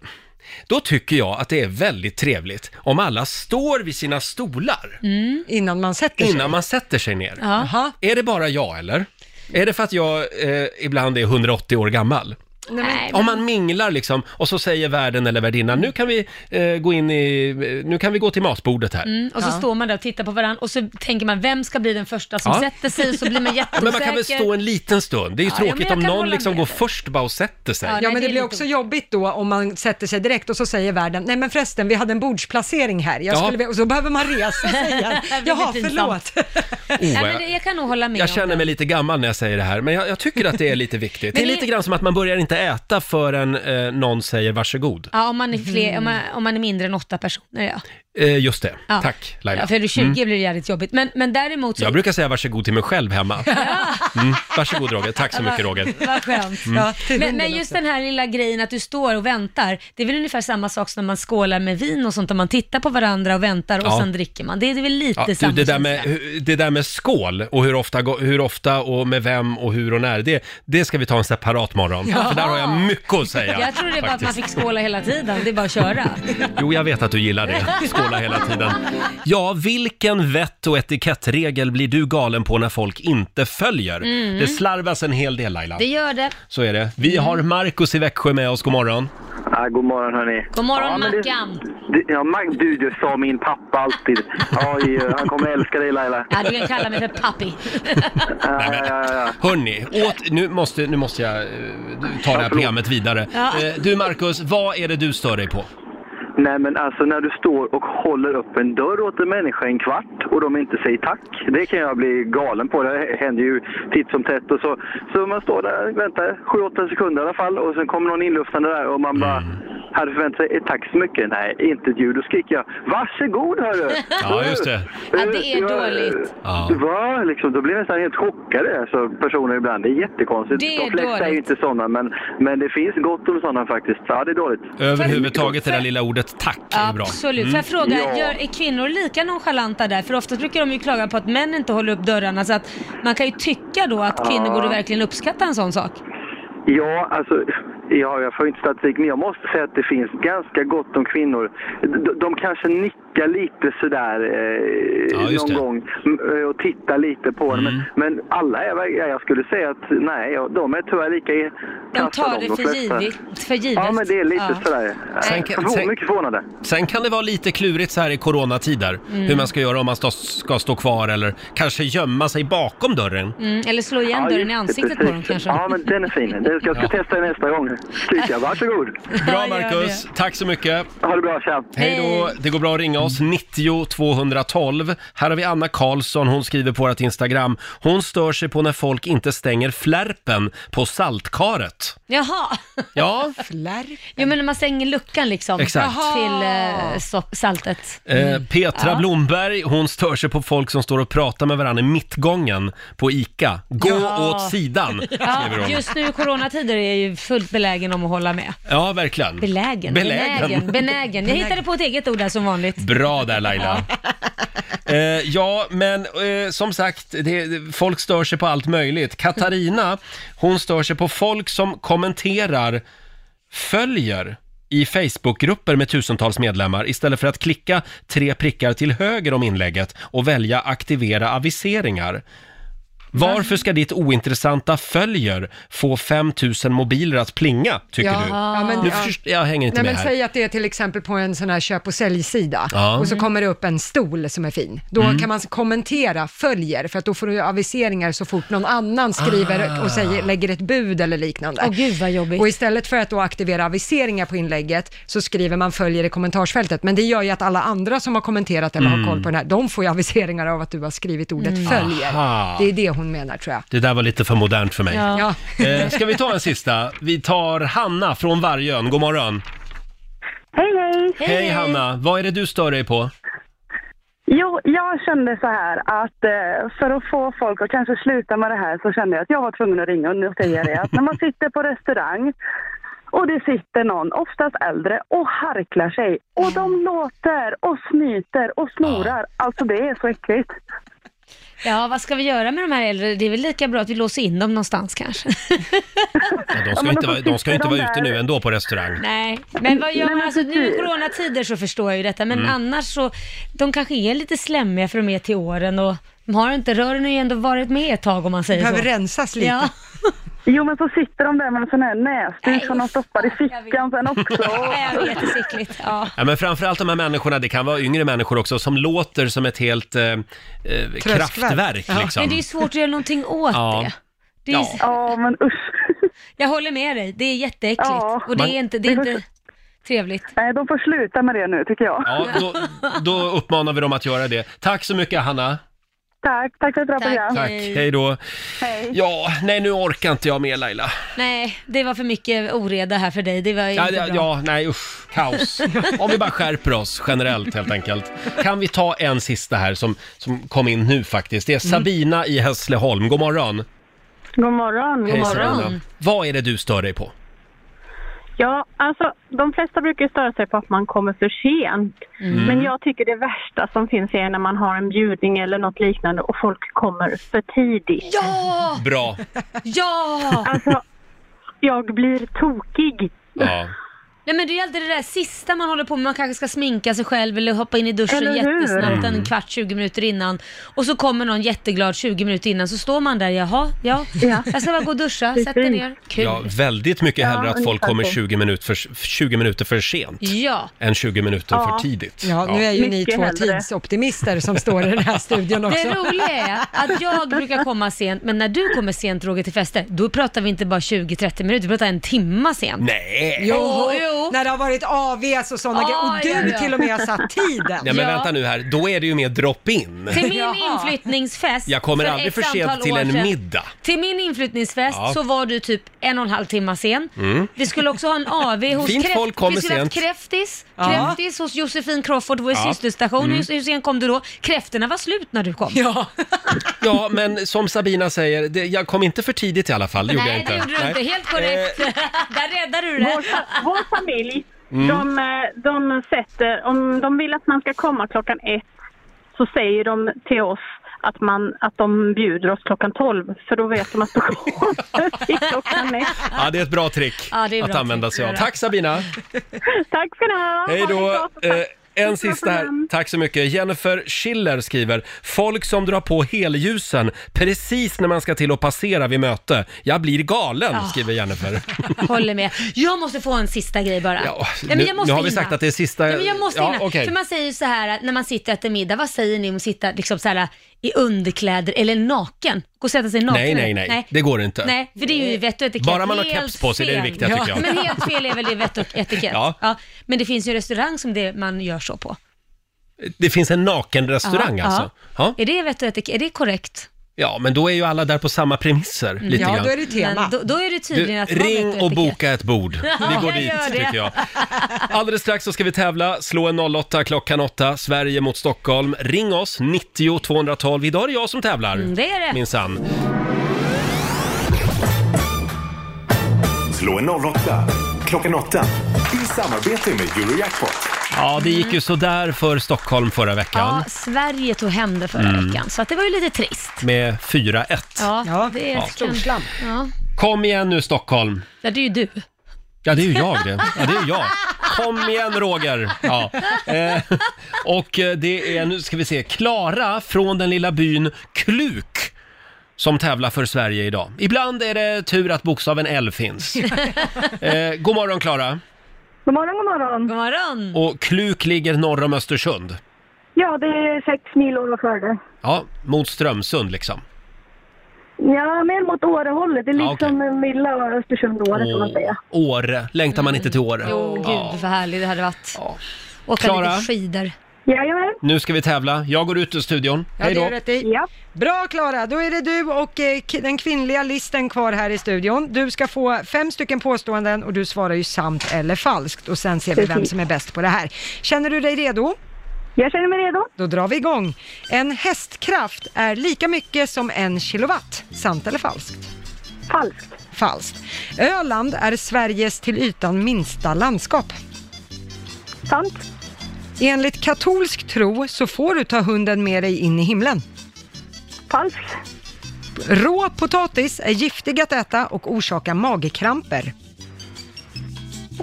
Speaker 1: då tycker jag att det är väldigt trevligt om alla står vid sina stolar
Speaker 2: Innan man sätter sig.
Speaker 1: innan man sätter sig ner.
Speaker 2: Mm. Ja. Jaha.
Speaker 1: Är det bara jag eller? Är det för att jag eh, ibland är 180 år gammal?
Speaker 2: Nej, men-
Speaker 1: Om man minglar liksom och så säger värden eller värdinnan, nu kan vi eh, gå in i, eh, nu kan vi gå till matbordet här.
Speaker 4: Mm, och så står man där och tittar på varandra och så tänker man, vem ska bli den första som
Speaker 1: Ja.
Speaker 4: sätter sig? Och så blir man
Speaker 1: Ja,
Speaker 4: jätteosäker.
Speaker 1: men man kan väl stå en liten stund? Det är ju
Speaker 4: Ja, ja, men
Speaker 1: tråkigt
Speaker 4: jag
Speaker 1: om
Speaker 4: kan
Speaker 1: någon
Speaker 4: hålla
Speaker 1: liksom
Speaker 4: med
Speaker 1: går
Speaker 4: dig.
Speaker 1: först bara och sätter sig.
Speaker 2: Ja, men det, blir också jobbigt då om man sätter sig direkt och så säger värden, nej men förresten, vi hade en bordsplacering här, jag
Speaker 1: Ja.
Speaker 2: skulle, vilja-" och så behöver man resa sig igen.
Speaker 4: Det blir
Speaker 2: Jaha,
Speaker 4: pinsamt.
Speaker 2: förlåt.
Speaker 1: Oh,
Speaker 4: Nej,
Speaker 1: jag-
Speaker 4: men det, jag kan nog hålla med
Speaker 1: Jag
Speaker 4: om
Speaker 1: känner mig lite gammal när jag säger det här, men jag, jag tycker att det är lite viktigt. Det är
Speaker 4: Men det-
Speaker 1: lite grann som att man börjar inte äta förrän eh, någon säger varsågod.
Speaker 4: Ja, om man, är fler, om, man, om man är mindre än åtta personer, ja.
Speaker 1: Eh, just det,
Speaker 4: ja.
Speaker 1: tack Laila.
Speaker 4: Ja, för är du 20
Speaker 1: Mm.
Speaker 4: blir det jävligt jobbigt. Men, men däremot så...
Speaker 1: Jag brukar säga varsågod till mig själv hemma. Mm. Varsågod Roger, tack så mycket Roger.
Speaker 4: Vad skönt.
Speaker 1: Mm. Ja,
Speaker 2: till
Speaker 4: men,
Speaker 2: hunden
Speaker 4: men just
Speaker 2: också.
Speaker 4: den här lilla grejen att du står och väntar, det är väl ungefär samma sak som när man skålar med vin och sånt, där man tittar på varandra och väntar och
Speaker 1: Ja.
Speaker 4: sen dricker man. Det är väl lite
Speaker 1: Ja, du,
Speaker 4: samma
Speaker 1: det, där
Speaker 4: känsla.
Speaker 1: med, hu- det där med skål och hur ofta, gå- hur ofta och med vem och hur och när, det, det ska vi ta en separat morgon.
Speaker 4: Ja.
Speaker 1: För där har jag mycket att säga.
Speaker 4: Jag tror det är bara att man
Speaker 1: faktiskt.
Speaker 4: fick skåla hela tiden, det är bara att köra.
Speaker 1: Jo, jag vet att du gillar det. Skåla hela tiden. Ja, vilken vett och etikettregel blir du galen på när folk inte följer?
Speaker 4: Mm. Mm.
Speaker 1: Det slarvas en hel del Laila.
Speaker 4: Det gör det.
Speaker 1: Så är det. Vi har Markus i Växjö med oss, god morgon.
Speaker 11: Ja, god morgon hörni.
Speaker 4: God morgon
Speaker 11: ja, men det-
Speaker 4: Mackan.
Speaker 11: det- Ja, Mag- du, du sa min pappa alltid. Oj, han kommer älska dig Laila.
Speaker 4: Ja, du kan kalla mig för pappi.
Speaker 1: Hörni, åt, nu, måste, nu måste jag eh, ta det här programmet vidare.
Speaker 11: Ja.
Speaker 1: Eh, Du Markus, vad är det du stör dig på?
Speaker 11: Nej men alltså när du står och håller upp en dörr åt en människa en kvart och de inte säger tack. Det kan jag bli galen på. Det händer ju titt som tätt och så. Så man står där och väntar 7-8 sekunder i alla fall och sen kommer någon inluftande där och man
Speaker 1: Mm.
Speaker 11: bara hade förväntat sig ett tack så mycket. Nej, inte ett ljud. Då skriker jag varsågod hörru!
Speaker 1: Ja, just det.
Speaker 4: Ja, det är
Speaker 11: Jag-
Speaker 4: dåligt.
Speaker 1: Ja.
Speaker 11: Va? Liksom, då blir jag nästan helt chockade, alltså, personer ibland. Det är jättekonstigt.
Speaker 4: Det är
Speaker 11: De flesta är ju
Speaker 4: dåligt.
Speaker 11: inte sådana, men, men det finns gott om sådana faktiskt. Ja, det är dåligt.
Speaker 1: Överhuvudtaget det där lilla ordet tack är bra.
Speaker 4: Absolut.
Speaker 1: Mm.
Speaker 4: Får jag fråga, gör, är kvinnor lika nonchalanta där? För oftast brukar de ju klaga på att män inte håller upp dörrarna, så att man kan ju tycka då att kvinnor
Speaker 11: Ja.
Speaker 4: borde verkligen uppskatta en sån sak.
Speaker 11: Ja, alltså, ja, jag får inte statistik, men jag måste säga att det finns ganska gott om kvinnor. De, de kanske nickar lite sådär eh,
Speaker 1: Ja, just
Speaker 11: någon
Speaker 1: det. Mm.
Speaker 11: gång m- eh, och tittar lite på en. Men, men alla är, väl- ja, jag skulle säga att nej, ja, de är tyvärr lika i-
Speaker 4: De
Speaker 11: kassa,
Speaker 4: tar det för
Speaker 11: flesta.
Speaker 4: givet. För givet.
Speaker 11: Ja, men det är lite
Speaker 4: Ja.
Speaker 11: sådär.
Speaker 1: Sen kan-
Speaker 11: Förvå-
Speaker 1: sen-
Speaker 11: mycket förvånade.
Speaker 1: Sen kan det vara lite klurigt så här i coronatider,
Speaker 4: Mm.
Speaker 1: hur man ska göra om man stå, ska stå kvar eller kanske gömma sig bakom dörren.
Speaker 4: Mm, eller slå igen
Speaker 11: Ja,
Speaker 4: dörren i
Speaker 11: just det,
Speaker 4: ansiktet på
Speaker 11: precis.
Speaker 4: dem kanske.
Speaker 11: Ja, men den är fin. Den ska, jag ska testa den nästa gång. Kika, varsågod.
Speaker 1: Bra Marcus, tack så mycket.
Speaker 11: Ha det bra, tja.
Speaker 1: Hej då, det går bra att ringa oss. oss, 90 212. Här har vi Anna Karlsson, hon skriver på vårt Instagram. Hon stör sig på när folk inte stänger flärpen på saltkaret.
Speaker 4: Jaha.
Speaker 1: Ja.
Speaker 2: Flärp.
Speaker 4: Jo men när man stänger luckan liksom.
Speaker 1: Exakt.
Speaker 4: Till eh, so- saltet.
Speaker 1: Eh, Petra
Speaker 4: Mm. Ja.
Speaker 1: Blomberg, hon stör sig på folk som står och pratar med varandra i mittgången på ICA. Gå
Speaker 4: Ja.
Speaker 1: åt sidan, skriver
Speaker 4: Ja,
Speaker 1: hon.
Speaker 4: just nu i coronatider är jag ju fullt belägen om att hålla med.
Speaker 1: Ja, verkligen.
Speaker 4: Belägen.
Speaker 1: Mm. Belägen.
Speaker 4: Benägen. Benägen. Jag hittade på ett eget ord där som vanligt.
Speaker 1: Bra där Laila. Eh, ja, men eh, som sagt, det, folk stör sig på allt möjligt. Katarina, hon stör sig på folk som kommenterar följer i Facebookgrupper med tusentals medlemmar istället för att klicka tre prickar till höger om inlägget och välja aktivera aviseringar. Varför ska ditt ointressanta följer få 5000 mobiler att plinga, tycker
Speaker 2: Ja.
Speaker 1: du?
Speaker 2: Ja, men-
Speaker 1: nu
Speaker 2: ja.
Speaker 1: först- Jag hänger inte
Speaker 2: Nej,
Speaker 1: med
Speaker 2: men
Speaker 1: här.
Speaker 2: säg att det är till exempel på en sån här köp och säljsida
Speaker 1: Ja.
Speaker 2: och så
Speaker 1: Mm.
Speaker 2: kommer det upp en stol som är fin. Då
Speaker 1: Mm.
Speaker 2: kan man kommentera följer för att då får du aviseringar så fort någon annan skriver
Speaker 4: Ah.
Speaker 2: och säger, lägger ett bud eller liknande.
Speaker 4: Åh, gud, vad jobbigt.
Speaker 2: Och istället för att då aktivera aviseringar på inlägget så skriver man följer i kommentarsfältet. Men det gör ju att alla andra som har kommenterat eller
Speaker 1: Mm.
Speaker 2: har koll på den här, de får ju aviseringar av att du har skrivit ordet
Speaker 1: Mm.
Speaker 2: följer.
Speaker 1: Aha.
Speaker 2: Det är det hon menar tror jag.
Speaker 1: Det där var lite för modernt för mig.
Speaker 2: Ja.
Speaker 1: Eh, ska vi ta en sista? Vi tar Hanna från Vargön. God morgon.
Speaker 12: Hej, hej!
Speaker 1: Hej, Hanna. Vad är det du stör dig på?
Speaker 12: Jo, jag kände så här att eh, för att få folk att kanske sluta med det här så kände jag att jag var tvungen att ringa och nu säger jag det. Att när man sitter på restaurang och det sitter någon, oftast äldre, och harklar sig och de låter och snyter och snorar. Alltså det är så äckligt.
Speaker 4: Ja, vad ska vi göra med de här äldre? Det är väl lika bra att vi låser in dem någonstans kanske.
Speaker 1: De
Speaker 4: Ja,
Speaker 1: ska
Speaker 4: men
Speaker 1: ju inte,
Speaker 4: då
Speaker 1: vara- de ska ju inte
Speaker 4: sitter de
Speaker 1: vara ute
Speaker 4: där.
Speaker 1: nu ändå på restaurang.
Speaker 4: Nej, men vad gör
Speaker 12: Nej,
Speaker 4: man?
Speaker 12: men
Speaker 4: Alltså, nu i
Speaker 12: precis.
Speaker 4: coronatider så förstår jag ju detta, men
Speaker 1: Mm.
Speaker 4: annars så, de kanske är lite slemmiga för de är till åren och de har inte, rören har ju ändå varit med ett tag om man säger
Speaker 2: Behöver
Speaker 4: så.
Speaker 2: rensas lite.
Speaker 4: Ja.
Speaker 12: Jo men så sitter de där med en sån här näsduk som de stoppar i fickan sen också.
Speaker 4: Jag vet, det är så äckligt. Ja.
Speaker 1: Ja, men framförallt de här människorna, det kan vara yngre människor också, som låter som ett helt eh, eh, kraftverk. Liksom.
Speaker 4: Men det är ju svårt att göra någonting åt det. det är ju-
Speaker 12: men usch.
Speaker 4: Jag håller med dig, det är jätteäckligt. Och det
Speaker 1: Man-
Speaker 4: är inte, det är inte trevligt.
Speaker 12: Nej, de får sluta med det nu tycker jag.
Speaker 1: Ja, då, då uppmanar vi dem att göra det. Tack så mycket Hanna.
Speaker 12: Tack, tack för ett bra program.
Speaker 1: Tack, hej då. Ja, nej nu orkar inte jag mer Laila.
Speaker 4: Nej, det var för mycket oreda här för dig. Det var
Speaker 1: Ja,
Speaker 4: inte
Speaker 1: ja,
Speaker 4: bra.
Speaker 1: ja, nej usch, kaos. Om vi bara skärper oss generellt helt enkelt. Kan vi ta en sista här som, som kom in nu faktiskt. Det är
Speaker 4: Mm.
Speaker 1: Sabina i Hässleholm, god morgon.
Speaker 13: God morgon, god
Speaker 1: Hej,
Speaker 13: morgon.
Speaker 1: Sabina. Vad är det du stör dig på?
Speaker 13: Ja, alltså de flesta brukar ju störa sig på att man kommer för sent.
Speaker 1: Mm.
Speaker 13: Men jag tycker det värsta som finns är när man har en bjudning eller något liknande och folk kommer för tidigt.
Speaker 4: Ja!
Speaker 1: Bra.
Speaker 4: Ja!
Speaker 13: Alltså, jag blir tokig.
Speaker 1: Ja.
Speaker 4: Nej men det är ju alltid det där sista man håller på med, man kanske ska sminka sig själv eller hoppa in i duschen
Speaker 13: Eller hur?
Speaker 4: jättesnabbt en
Speaker 13: Mm.
Speaker 4: kvart, 20 minuter innan. Och så kommer någon jätteglad 20 minuter innan, så står man där, jaha, ja, jag ska bara gå och duscha, sätt dig ner, kul.
Speaker 1: Ja, väldigt mycket
Speaker 4: Ja,
Speaker 1: hellre att folk
Speaker 4: ungefär
Speaker 1: kommer
Speaker 4: så.
Speaker 1: 20 minuter, för, 20 minuter för sent
Speaker 4: Ja.
Speaker 1: än 20 minuter
Speaker 4: Ja.
Speaker 1: för tidigt.
Speaker 2: Ja, nu är ju ni
Speaker 4: Mycket
Speaker 2: två
Speaker 4: hellre.
Speaker 2: tidsoptimister som står i den här studion också.
Speaker 4: Det roliga är att jag brukar komma sent, men när du kommer sent Roger till fester, då pratar vi inte bara 20-30 minuter, vi pratar en timma sent.
Speaker 1: Nej!
Speaker 2: Jo,
Speaker 4: Jo,
Speaker 2: när det har varit AVs och sådana
Speaker 4: Ah,
Speaker 2: grejer. Och du
Speaker 4: ja, ja.
Speaker 2: till och med har satt tiden.
Speaker 1: Nej men vänta nu här, då är det ju mer drop-in.
Speaker 4: Till min inflyttningsfest
Speaker 1: Jag kommer
Speaker 4: för
Speaker 1: aldrig
Speaker 4: ett
Speaker 1: för
Speaker 4: antal
Speaker 1: sent till
Speaker 4: år
Speaker 1: en
Speaker 4: sedan-
Speaker 1: middag.
Speaker 4: Till min inflyttningsfest
Speaker 1: Ja.
Speaker 4: så var du typ en och en halv timma sen.
Speaker 1: Mm.
Speaker 4: Vi skulle också ha en AV hos
Speaker 1: Fint
Speaker 4: Kräft-
Speaker 1: folk kommer
Speaker 4: Vi skulle haft
Speaker 1: sent.
Speaker 4: Kräftis,
Speaker 1: Ja.
Speaker 4: Kräftis hos Josefin Crawford, vår
Speaker 1: Ja.
Speaker 4: systerstation.
Speaker 1: Mm.
Speaker 4: Hur, hur sen kom du då? Kräfterna var slut när du kom.
Speaker 2: Ja.
Speaker 1: Ja, men som Sabina säger, det, jag kom inte för tidigt i alla fall. Det gjorde jag
Speaker 4: Nej,
Speaker 1: inte. Eh,
Speaker 4: det gjorde du inte. Helt korrekt. Där räddade du det.
Speaker 13: Vår, fa- vår familj,
Speaker 1: Mm.
Speaker 13: de, eh, de sätter, om de vill att man ska komma klockan ett så säger de till oss att, man, att de bjuder oss klockan tolv för då vet de att de kommer till klockan ett.
Speaker 1: Ja, det är ett bra trick
Speaker 13: Ja, det är
Speaker 1: att
Speaker 13: bra
Speaker 1: använda
Speaker 13: trick.
Speaker 1: sig av.
Speaker 13: Ja.
Speaker 1: Tack Sabina!
Speaker 13: Tack ska ni ha!
Speaker 1: Hej
Speaker 13: Ha det
Speaker 1: då!
Speaker 13: bra.
Speaker 1: Eh, en sista här. Tack så mycket. Jennifer Schiller skriver, folk som drar på helljusen precis när man ska till att passera vid möte. Jag blir galen,
Speaker 4: Ah.
Speaker 1: skriver Jennifer.
Speaker 4: Håller med. Jag måste få en sista grej bara. Nej, men
Speaker 1: nu,
Speaker 4: jag måste
Speaker 1: nu har vi
Speaker 4: hinna.
Speaker 1: sagt att det är sista...
Speaker 4: Nej, men jag måste
Speaker 1: ja,
Speaker 4: hinna.
Speaker 1: okej.
Speaker 4: För man säger ju så här att när man sitter och äter middag, vad säger ni om att sitta liksom så här, i underkläder eller naken? Gå och sätta sig naken.
Speaker 1: Nej, nej, nej, Det går inte. Eh,
Speaker 4: Nej, för det är ju vett och etikett.
Speaker 1: Bara man har
Speaker 4: Helt
Speaker 1: keps på sig, det är det
Speaker 4: fel.
Speaker 1: viktiga, tycker jag.
Speaker 4: Men helt fel är väl det vett och etikett.
Speaker 1: Ja.
Speaker 4: Men det finns ju restaurang som det man gör så på.
Speaker 1: Det finns en nakenrestaurang
Speaker 4: Ja,
Speaker 1: alltså? Ja.
Speaker 4: Är det vett och etik- Är det korrekt?
Speaker 1: ja, men då är ju alla där på samma premisser
Speaker 4: Mm.
Speaker 1: lite grann.
Speaker 4: tema. då, då är det tydligen att
Speaker 1: Du,
Speaker 4: det var vett
Speaker 1: ring och
Speaker 4: etikett.
Speaker 1: boka ett bord. Vi
Speaker 4: Ja,
Speaker 1: går
Speaker 4: jag gör
Speaker 1: dit,
Speaker 4: det.
Speaker 1: tycker jag. Alldeles strax så ska vi tävla. Slå en 08 klockan 8, Sverige mot Stockholm. Ring oss, 90 212. Idag är det jag som tävlar.
Speaker 4: Mm, det är det.
Speaker 1: Minsann.
Speaker 3: Slå en 08 klockan 8 i samarbete med Eurojackpot.
Speaker 1: Ja, det gick ju sådär för Stockholm förra veckan.
Speaker 4: Ja, Sverige tog hem det förra
Speaker 1: Mm.
Speaker 4: veckan, så att det var ju lite trist.
Speaker 1: Med 4-1.
Speaker 4: Ja, det
Speaker 1: Ja.
Speaker 4: är kan... Ja.
Speaker 1: Kom igen nu Stockholm.
Speaker 4: ja, det är ju du.
Speaker 1: Ja, det är ju jag det. Ja, det är jag. Kom igen Roger! Ja. Eh, och eh, det är, nu ska vi se, Klara från den lilla byn Kluk som tävlar för Sverige idag. Ibland är det tur att bokstaven L finns. Eh, god morgon Klara!
Speaker 10: God morgon, god morgon.
Speaker 4: God morgon.
Speaker 1: Och Kluk ligger norr om Östersund.
Speaker 10: Ja, det är sex mil ovanför det.
Speaker 1: Ja, mot Strömsund liksom.
Speaker 10: Ja, mer mot Årehållet. Det är
Speaker 1: Ja,
Speaker 10: liksom Milla och Östersund och Åre kan man
Speaker 1: Åh,
Speaker 10: säga.
Speaker 1: Åre, längtar man inte till Åre?
Speaker 4: Jo, gud vad härligt det hade varit. Åka
Speaker 1: Klara?
Speaker 4: lite skidor.
Speaker 10: Jajamän.
Speaker 1: Nu ska vi tävla. Jag går ut ur studion.
Speaker 2: Ja,
Speaker 1: Hej
Speaker 2: det
Speaker 1: då!
Speaker 2: är rätt i. Bra Klara, då är det du och eh, k- den kvinnliga listen kvar här i studion. Du ska få fem stycken påståenden och du svarar ju sant eller falskt och sen ser vi vem
Speaker 10: Precis.
Speaker 2: som är bäst på det här. Känner du dig redo?
Speaker 10: Jag känner mig redo.
Speaker 2: Då drar vi igång. En hästkraft är lika mycket som en kilowatt. Sant eller falskt?
Speaker 10: Falskt.
Speaker 2: Falskt. Öland är Sveriges till ytan minsta landskap.
Speaker 10: Sant.
Speaker 2: Enligt katolsk tro så får du ta hunden med dig in i himlen.
Speaker 10: Falskt.
Speaker 2: Rå potatis är giftig att äta och orsakar magkramper.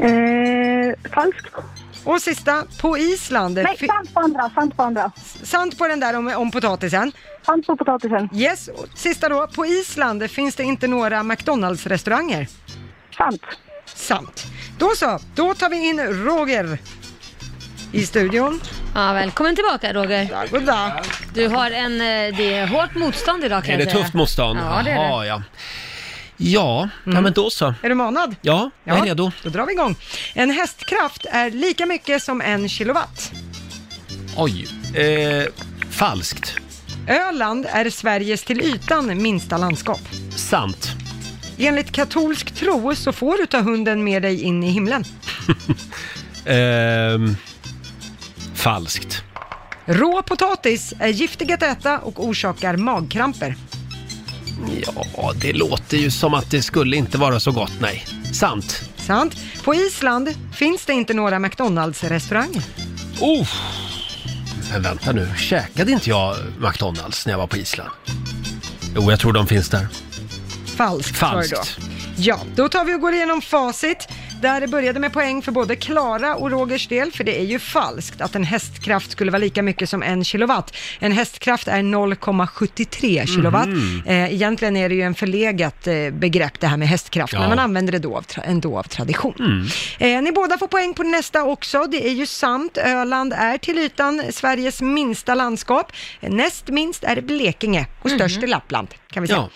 Speaker 10: Eh, falskt.
Speaker 2: Och sista, på Island...
Speaker 10: Nej,
Speaker 2: fi-
Speaker 10: sant på andra, sant på andra.
Speaker 2: Sant på den där om, om potatisen.
Speaker 10: Sant på potatisen.
Speaker 2: Yes, och sista då. På Island finns det inte några McDonalds-restauranger.
Speaker 10: Sant.
Speaker 2: Sant. Då så, då tar vi in Roger i studion.
Speaker 4: Ja, välkommen tillbaka Roger.
Speaker 2: Goddag.
Speaker 4: Du har en, eh, det är hårt motstånd idag kan
Speaker 1: Är
Speaker 4: jag
Speaker 1: det
Speaker 4: säga.
Speaker 1: tufft motstånd?
Speaker 4: Ja, det är
Speaker 1: Jaha,
Speaker 4: det.
Speaker 1: Ja, ja. ja men då så.
Speaker 2: Är du manad?
Speaker 1: Ja, jag är redo.
Speaker 2: Då drar vi igång. En hästkraft är lika mycket som en kilowatt.
Speaker 1: Oj. Eh, falskt.
Speaker 2: Öland är Sveriges till ytan minsta landskap.
Speaker 1: Sant.
Speaker 2: Enligt katolsk tro så får du ta hunden med dig in i himlen.
Speaker 1: Ehm, falskt.
Speaker 2: Rå potatis är giftig att äta och orsakar magkramper.
Speaker 1: Ja, det låter ju som att det skulle inte vara så gott, nej. Sant.
Speaker 2: Sant. På Island finns det inte några McDonalds-restauranger.
Speaker 1: Oh. Men vänta nu, käkade inte jag McDonalds när jag var på Island? Jo, jag tror de finns där.
Speaker 2: Falskt. sa du då.
Speaker 1: Falskt.
Speaker 2: Ja, då tar vi och går igenom facit. Där det började med poäng för både Klara och Rogers del, för det är ju falskt att en hästkraft skulle vara lika mycket som en kilowatt. En hästkraft är 0,73 kilowatt.
Speaker 14: Mhm.
Speaker 2: Eh, egentligen är det ju en förlegat eh, begrepp det här med hästkraft,
Speaker 14: Ja.
Speaker 2: men man använder det då av, tra- ändå av tradition.
Speaker 4: Mm.
Speaker 2: Eh, ni båda får poäng på nästa också. Det är ju sant. Öland är till ytan Sveriges minsta landskap. Näst minst är Blekinge och
Speaker 1: Mhm.
Speaker 2: störst är Lappland, kan vi säga.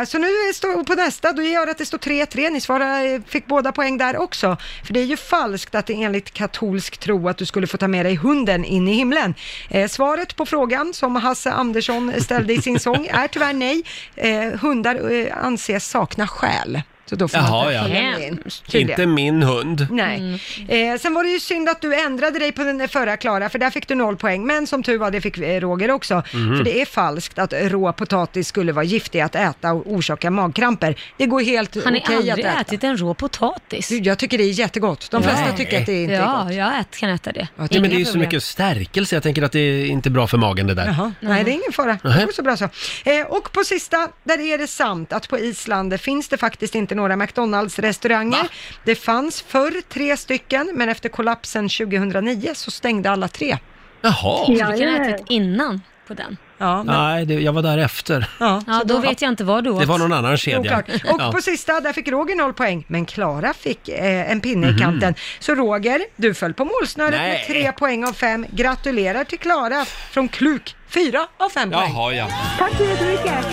Speaker 2: Eh, så nu står på nästa, då gör att det står 3-3. Ni svarar, eh, fick båda poäng där också. För det är ju falskt att det enligt katolsk tro att du skulle få ta med dig hunden in i himlen. Eh, svaret på frågan som Hasse Andersson ställde i sin sång är tyvärr nej. Eh, hundar eh, anses sakna själ. Så då får man
Speaker 1: Jaha,
Speaker 2: ta
Speaker 1: ja.
Speaker 2: hunden in. Tydligen.
Speaker 1: Inte min hund.
Speaker 2: Nej.
Speaker 4: Mm.
Speaker 2: Eh, sen var det ju synd att du ändrade dig på den förra Klara, för där fick du noll poäng. Men som tur var, det fick eh, Roger också.
Speaker 1: Mhm.
Speaker 2: För det är falskt att rå potatis skulle vara giftig att äta och orsaka magkramper. Det går helt
Speaker 4: Har ni
Speaker 2: okej att
Speaker 4: aldrig
Speaker 2: äta.
Speaker 4: ätit en rå potatis?
Speaker 2: Jag tycker det är jättegott. De flesta
Speaker 4: Ja.
Speaker 2: tycker att det inte är
Speaker 4: ja,
Speaker 2: gott.
Speaker 4: Ja, jag kan äta det.
Speaker 1: Ja, men det är ju så mycket stärkelse, jag tänker att det är inte bra för magen det där.
Speaker 2: Jaha. Nej, det är ingen fara. Det
Speaker 1: Mm-hmm. Nej.
Speaker 2: går så bra så. Eh, och på sista, där är det sant att på Island finns det faktiskt inte några McDonalds-restauranger. Det fanns förr tre stycken, men efter kollapsen 2009 så stängde alla tre.
Speaker 1: Jaha.
Speaker 4: Så du kan ha ätit typ innan på den.
Speaker 2: Ja,
Speaker 1: Nej, det, jag var där efter.
Speaker 2: Ja,
Speaker 4: Ja, då vet jag inte vad du åt.
Speaker 1: Det var någon annan kedja.
Speaker 2: Oklart. Och
Speaker 1: Ja.
Speaker 2: på sista, där fick Roger noll poäng, men Klara fick eh, en pinne
Speaker 1: Mhm.
Speaker 2: i kanten. Så Roger, du föll på målsnöret
Speaker 1: Nej.
Speaker 2: med tre poäng av fem. Gratulerar till Klara från Kluk, fyra av fem poäng.
Speaker 1: Jaha, ja.
Speaker 2: Tack så jättemycket.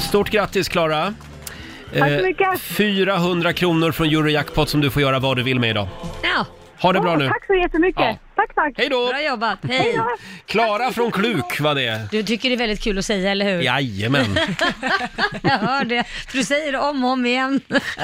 Speaker 1: Stort grattis Klara!
Speaker 4: Tack så
Speaker 1: Eh,
Speaker 4: mycket.
Speaker 1: 400 kronor från Eurojackpot som du får göra vad du vill med idag.
Speaker 4: Ja,
Speaker 1: Ha det bra
Speaker 10: Åh,
Speaker 1: nu.
Speaker 10: Tack så jättemycket.
Speaker 1: Ja.
Speaker 10: Tack, tack.
Speaker 1: Hej då.
Speaker 4: Bra jobbat.
Speaker 10: Hej
Speaker 4: Hej.
Speaker 10: då.
Speaker 1: Klara från Kluk var det.
Speaker 4: Du tycker det är väldigt kul att säga, eller hur?
Speaker 1: Jajamän.
Speaker 4: Jag hör det. För du säger det om och om igen.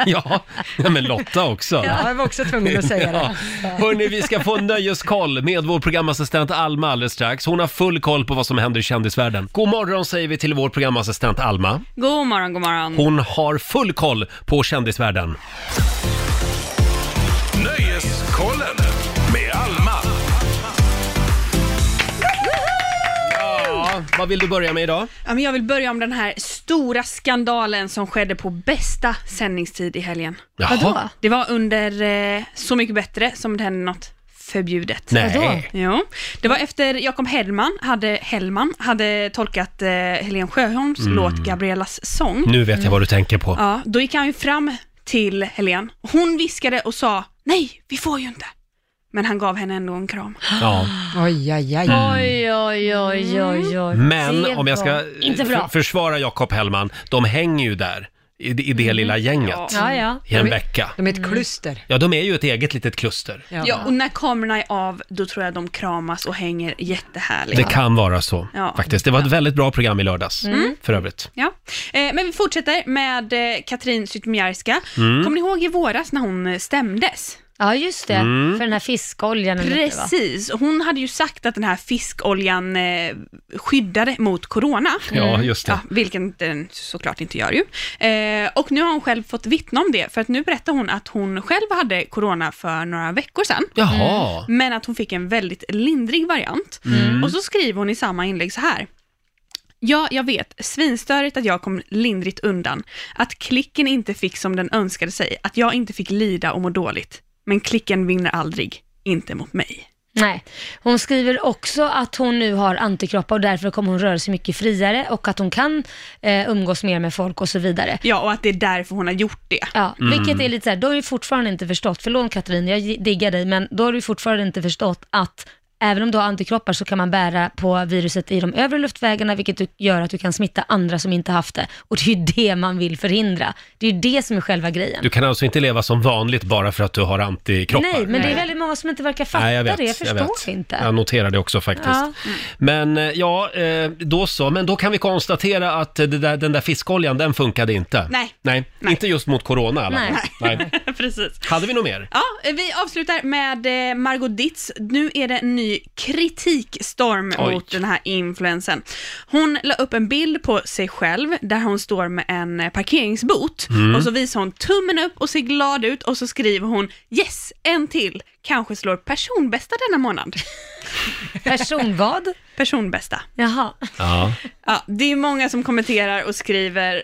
Speaker 1: Ja, nej, men Lotta också.
Speaker 4: Ja,
Speaker 2: jag var också tvungen att säga det.
Speaker 1: Hörni, vi ska få en nöjeskoll med vår programassistent Alma alldeles strax. Hon har full koll på vad som händer i kändisvärlden. God morgon säger vi till vår programassistent Alma.
Speaker 14: God morgon, god morgon.
Speaker 1: Hon har full koll på kändisvärlden.
Speaker 3: Nöjeskollen med Alma.
Speaker 1: Ja, vad vill du börja med idag?
Speaker 14: Ja, men jag vill börja om den här stora skandalen som skedde på bästa sändningstid i helgen.
Speaker 1: Jaha. Vadå?
Speaker 14: Det var under eh, Så mycket bättre som det hände något förbjudet.
Speaker 5: Nej. Vadå?
Speaker 14: Jo. Det var efter Jakob Hellman hade, Hellman hade tolkat eh, Helen Sjöholms
Speaker 1: Mm.
Speaker 14: låt Gabriellas sång.
Speaker 1: Nu vet jag vad du tänker på.
Speaker 14: Mm. Ja, då gick han ju fram till Helen. Hon viskade och sa nej, vi får ju inte. Men han gav henne ändå en kram.
Speaker 1: Ja.
Speaker 2: Oj, aj, aj.
Speaker 1: Mm.
Speaker 4: Oj, oj, oj, oj,
Speaker 2: Ah,
Speaker 4: oj.
Speaker 1: Men
Speaker 4: Det
Speaker 1: om jag ska
Speaker 4: var Inte
Speaker 1: eh,
Speaker 4: bra.
Speaker 1: f- försvara Jakob Hellman, de hänger ju där i, i det lilla gänget
Speaker 14: Ja, ja.
Speaker 1: i en
Speaker 14: De är-
Speaker 1: vecka.
Speaker 2: De är ett kluster.
Speaker 1: Ja, de är ju ett eget litet kluster.
Speaker 14: Ja. och när kamerorna är av, då tror jag de kramas och hänger jättehärligt.
Speaker 1: Det kan vara så
Speaker 14: Ja.
Speaker 1: faktiskt. Det var ett väldigt bra program i lördags
Speaker 14: Mm.
Speaker 1: för övrigt.
Speaker 14: Ja, eh, men vi fortsätter med eh, Katrin Zytomierska.
Speaker 1: Mm.
Speaker 14: Kommer ni ihåg i våras när hon eh, stämdes?
Speaker 4: Ja, just det.
Speaker 1: Mm.
Speaker 4: För den här fiskoljan. eller inte, va?
Speaker 14: Precis, och hon hade ju sagt att den här fiskoljan eh, skyddade mot corona.
Speaker 1: Ja, just det.
Speaker 14: vilket den såklart inte gör ju. Eh, och nu har hon själv fått vittna om det, för att nu berättar hon att hon själv hade corona för några veckor sedan.
Speaker 1: Jaha.
Speaker 14: Mm. Men att hon fick en väldigt lindrig variant.
Speaker 1: Mm.
Speaker 14: Och så skriver hon i samma inlägg så här. Ja, jag vet. Svinstörigt att jag kom lindrigt undan. Att klicken inte fick som den önskade sig. Att jag inte fick lida och må dåligt. Men klicken vinner aldrig. Inte mot mig.
Speaker 4: Nej. Hon skriver också att hon nu har antikroppar och därför kommer hon röra sig mycket friare och att hon kan eh, umgås mer med folk och så vidare.
Speaker 14: Ja, och att det är därför hon har gjort det.
Speaker 4: Ja,
Speaker 14: Mm.
Speaker 4: vilket är lite så här, då har du fortfarande inte förstått, förlåt Katrin, jag diggar dig, men då har du fortfarande inte förstått att även om du har antikroppar så kan man bära på viruset i de övre luftvägarna, vilket du- gör att du kan smitta andra som inte haft det. Och det är ju det man vill förhindra. Det är ju det som är själva grejen.
Speaker 1: Du kan alltså inte leva som vanligt bara för att du har antikroppar.
Speaker 4: Nej, men det är väldigt många som inte verkar fatta
Speaker 1: Nej, jag vet,
Speaker 4: det. Jag förstår
Speaker 1: vet.
Speaker 4: inte.
Speaker 1: Jag noterar det också faktiskt.
Speaker 4: Ja.
Speaker 1: Men eh, ja, eh, då så. Men då kan vi konstatera att eh, det där, den där fiskoljan, den funkade inte.
Speaker 14: Nej.
Speaker 1: Nej, inte just mot corona i alla fall.
Speaker 14: Nej.
Speaker 1: Nej.
Speaker 14: Precis.
Speaker 1: Hade vi något mer?
Speaker 14: Ja, vi avslutar med eh, Margot Ditz. Nu är det en ny kritikstorm
Speaker 1: Oj.
Speaker 14: mot den här influensen. Hon la upp en bild på sig själv där hon står med en eh, parkeringsbot
Speaker 5: Mm.
Speaker 14: och så visar hon tummen upp och ser glad ut och så skriver hon yes, en till, kanske slår personbästa denna månad.
Speaker 4: Person vad?
Speaker 14: Personbästa.
Speaker 4: Jaha.
Speaker 1: Ja.
Speaker 14: Ja, det är många som kommenterar och skriver,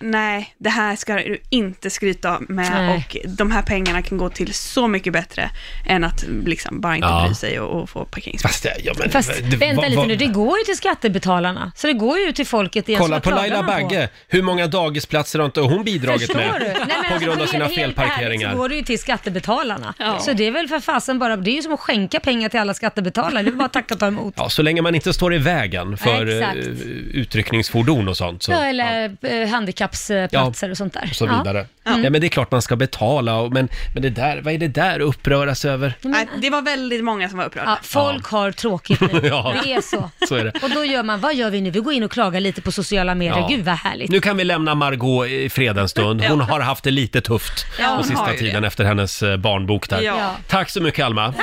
Speaker 14: nej, det här ska du inte skryta med
Speaker 4: Nej.
Speaker 14: och de här pengarna kan gå till så mycket bättre än att liksom bara inte
Speaker 1: Ja.
Speaker 14: bry sig och, och få parkeringsplats.
Speaker 1: Fast, det- ja, men,
Speaker 4: Fast
Speaker 1: det-
Speaker 4: vänta
Speaker 1: vad-
Speaker 4: lite
Speaker 1: vad-
Speaker 4: nu, det går ju till skattebetalarna. Så det går ju till folket igen. så
Speaker 1: Kolla
Speaker 4: vad
Speaker 1: på
Speaker 4: klagar
Speaker 1: Laila
Speaker 4: man på?
Speaker 1: Bagge, hur många dagisplatser har inte hon bidragit
Speaker 4: Förstår
Speaker 1: med
Speaker 4: du? Nej, men
Speaker 1: på
Speaker 4: alltså,
Speaker 1: grund av
Speaker 4: helt-
Speaker 1: sina
Speaker 4: helt
Speaker 1: felparkeringar?
Speaker 4: ärligt så går det ju till skattebetalarna.
Speaker 1: Ja.
Speaker 4: Så det är väl för fasen bara, det är ju som att skänka pengar till alla skattebetalare. Det är bara att tacka och ta emot.
Speaker 1: Ja, så länge man inte står i vägen för
Speaker 4: Nej,
Speaker 1: eh,
Speaker 4: exakt.
Speaker 1: utryckningsfordon och sånt. Så.
Speaker 4: ja, eller ja. handikappsplatser och sånt där.
Speaker 1: och så
Speaker 4: Ja.
Speaker 1: vidare. Ja.
Speaker 4: Mm.
Speaker 1: men det är klart man ska betala, och, men, men det där, vad är det där att uppröras över?
Speaker 14: Nej, det var väldigt många som var upprörda.
Speaker 4: Ja, folk har tråkigt nu.
Speaker 1: Ja.
Speaker 4: Mm. Det är så.
Speaker 1: Så är det.
Speaker 4: Och då gör man, vad gör vi nu? Vi går in och klagar lite på sociala medier.
Speaker 1: Ja.
Speaker 4: Gud vad härligt.
Speaker 1: Nu kan vi lämna Margot i fred en stund. Hon
Speaker 4: Ja.
Speaker 1: har haft det lite tufft
Speaker 4: Ja, hon
Speaker 1: på
Speaker 4: har
Speaker 1: sista
Speaker 4: ju
Speaker 1: tiden efter hennes eh, barnbok där.
Speaker 4: Ja.
Speaker 1: Tack så mycket Alma.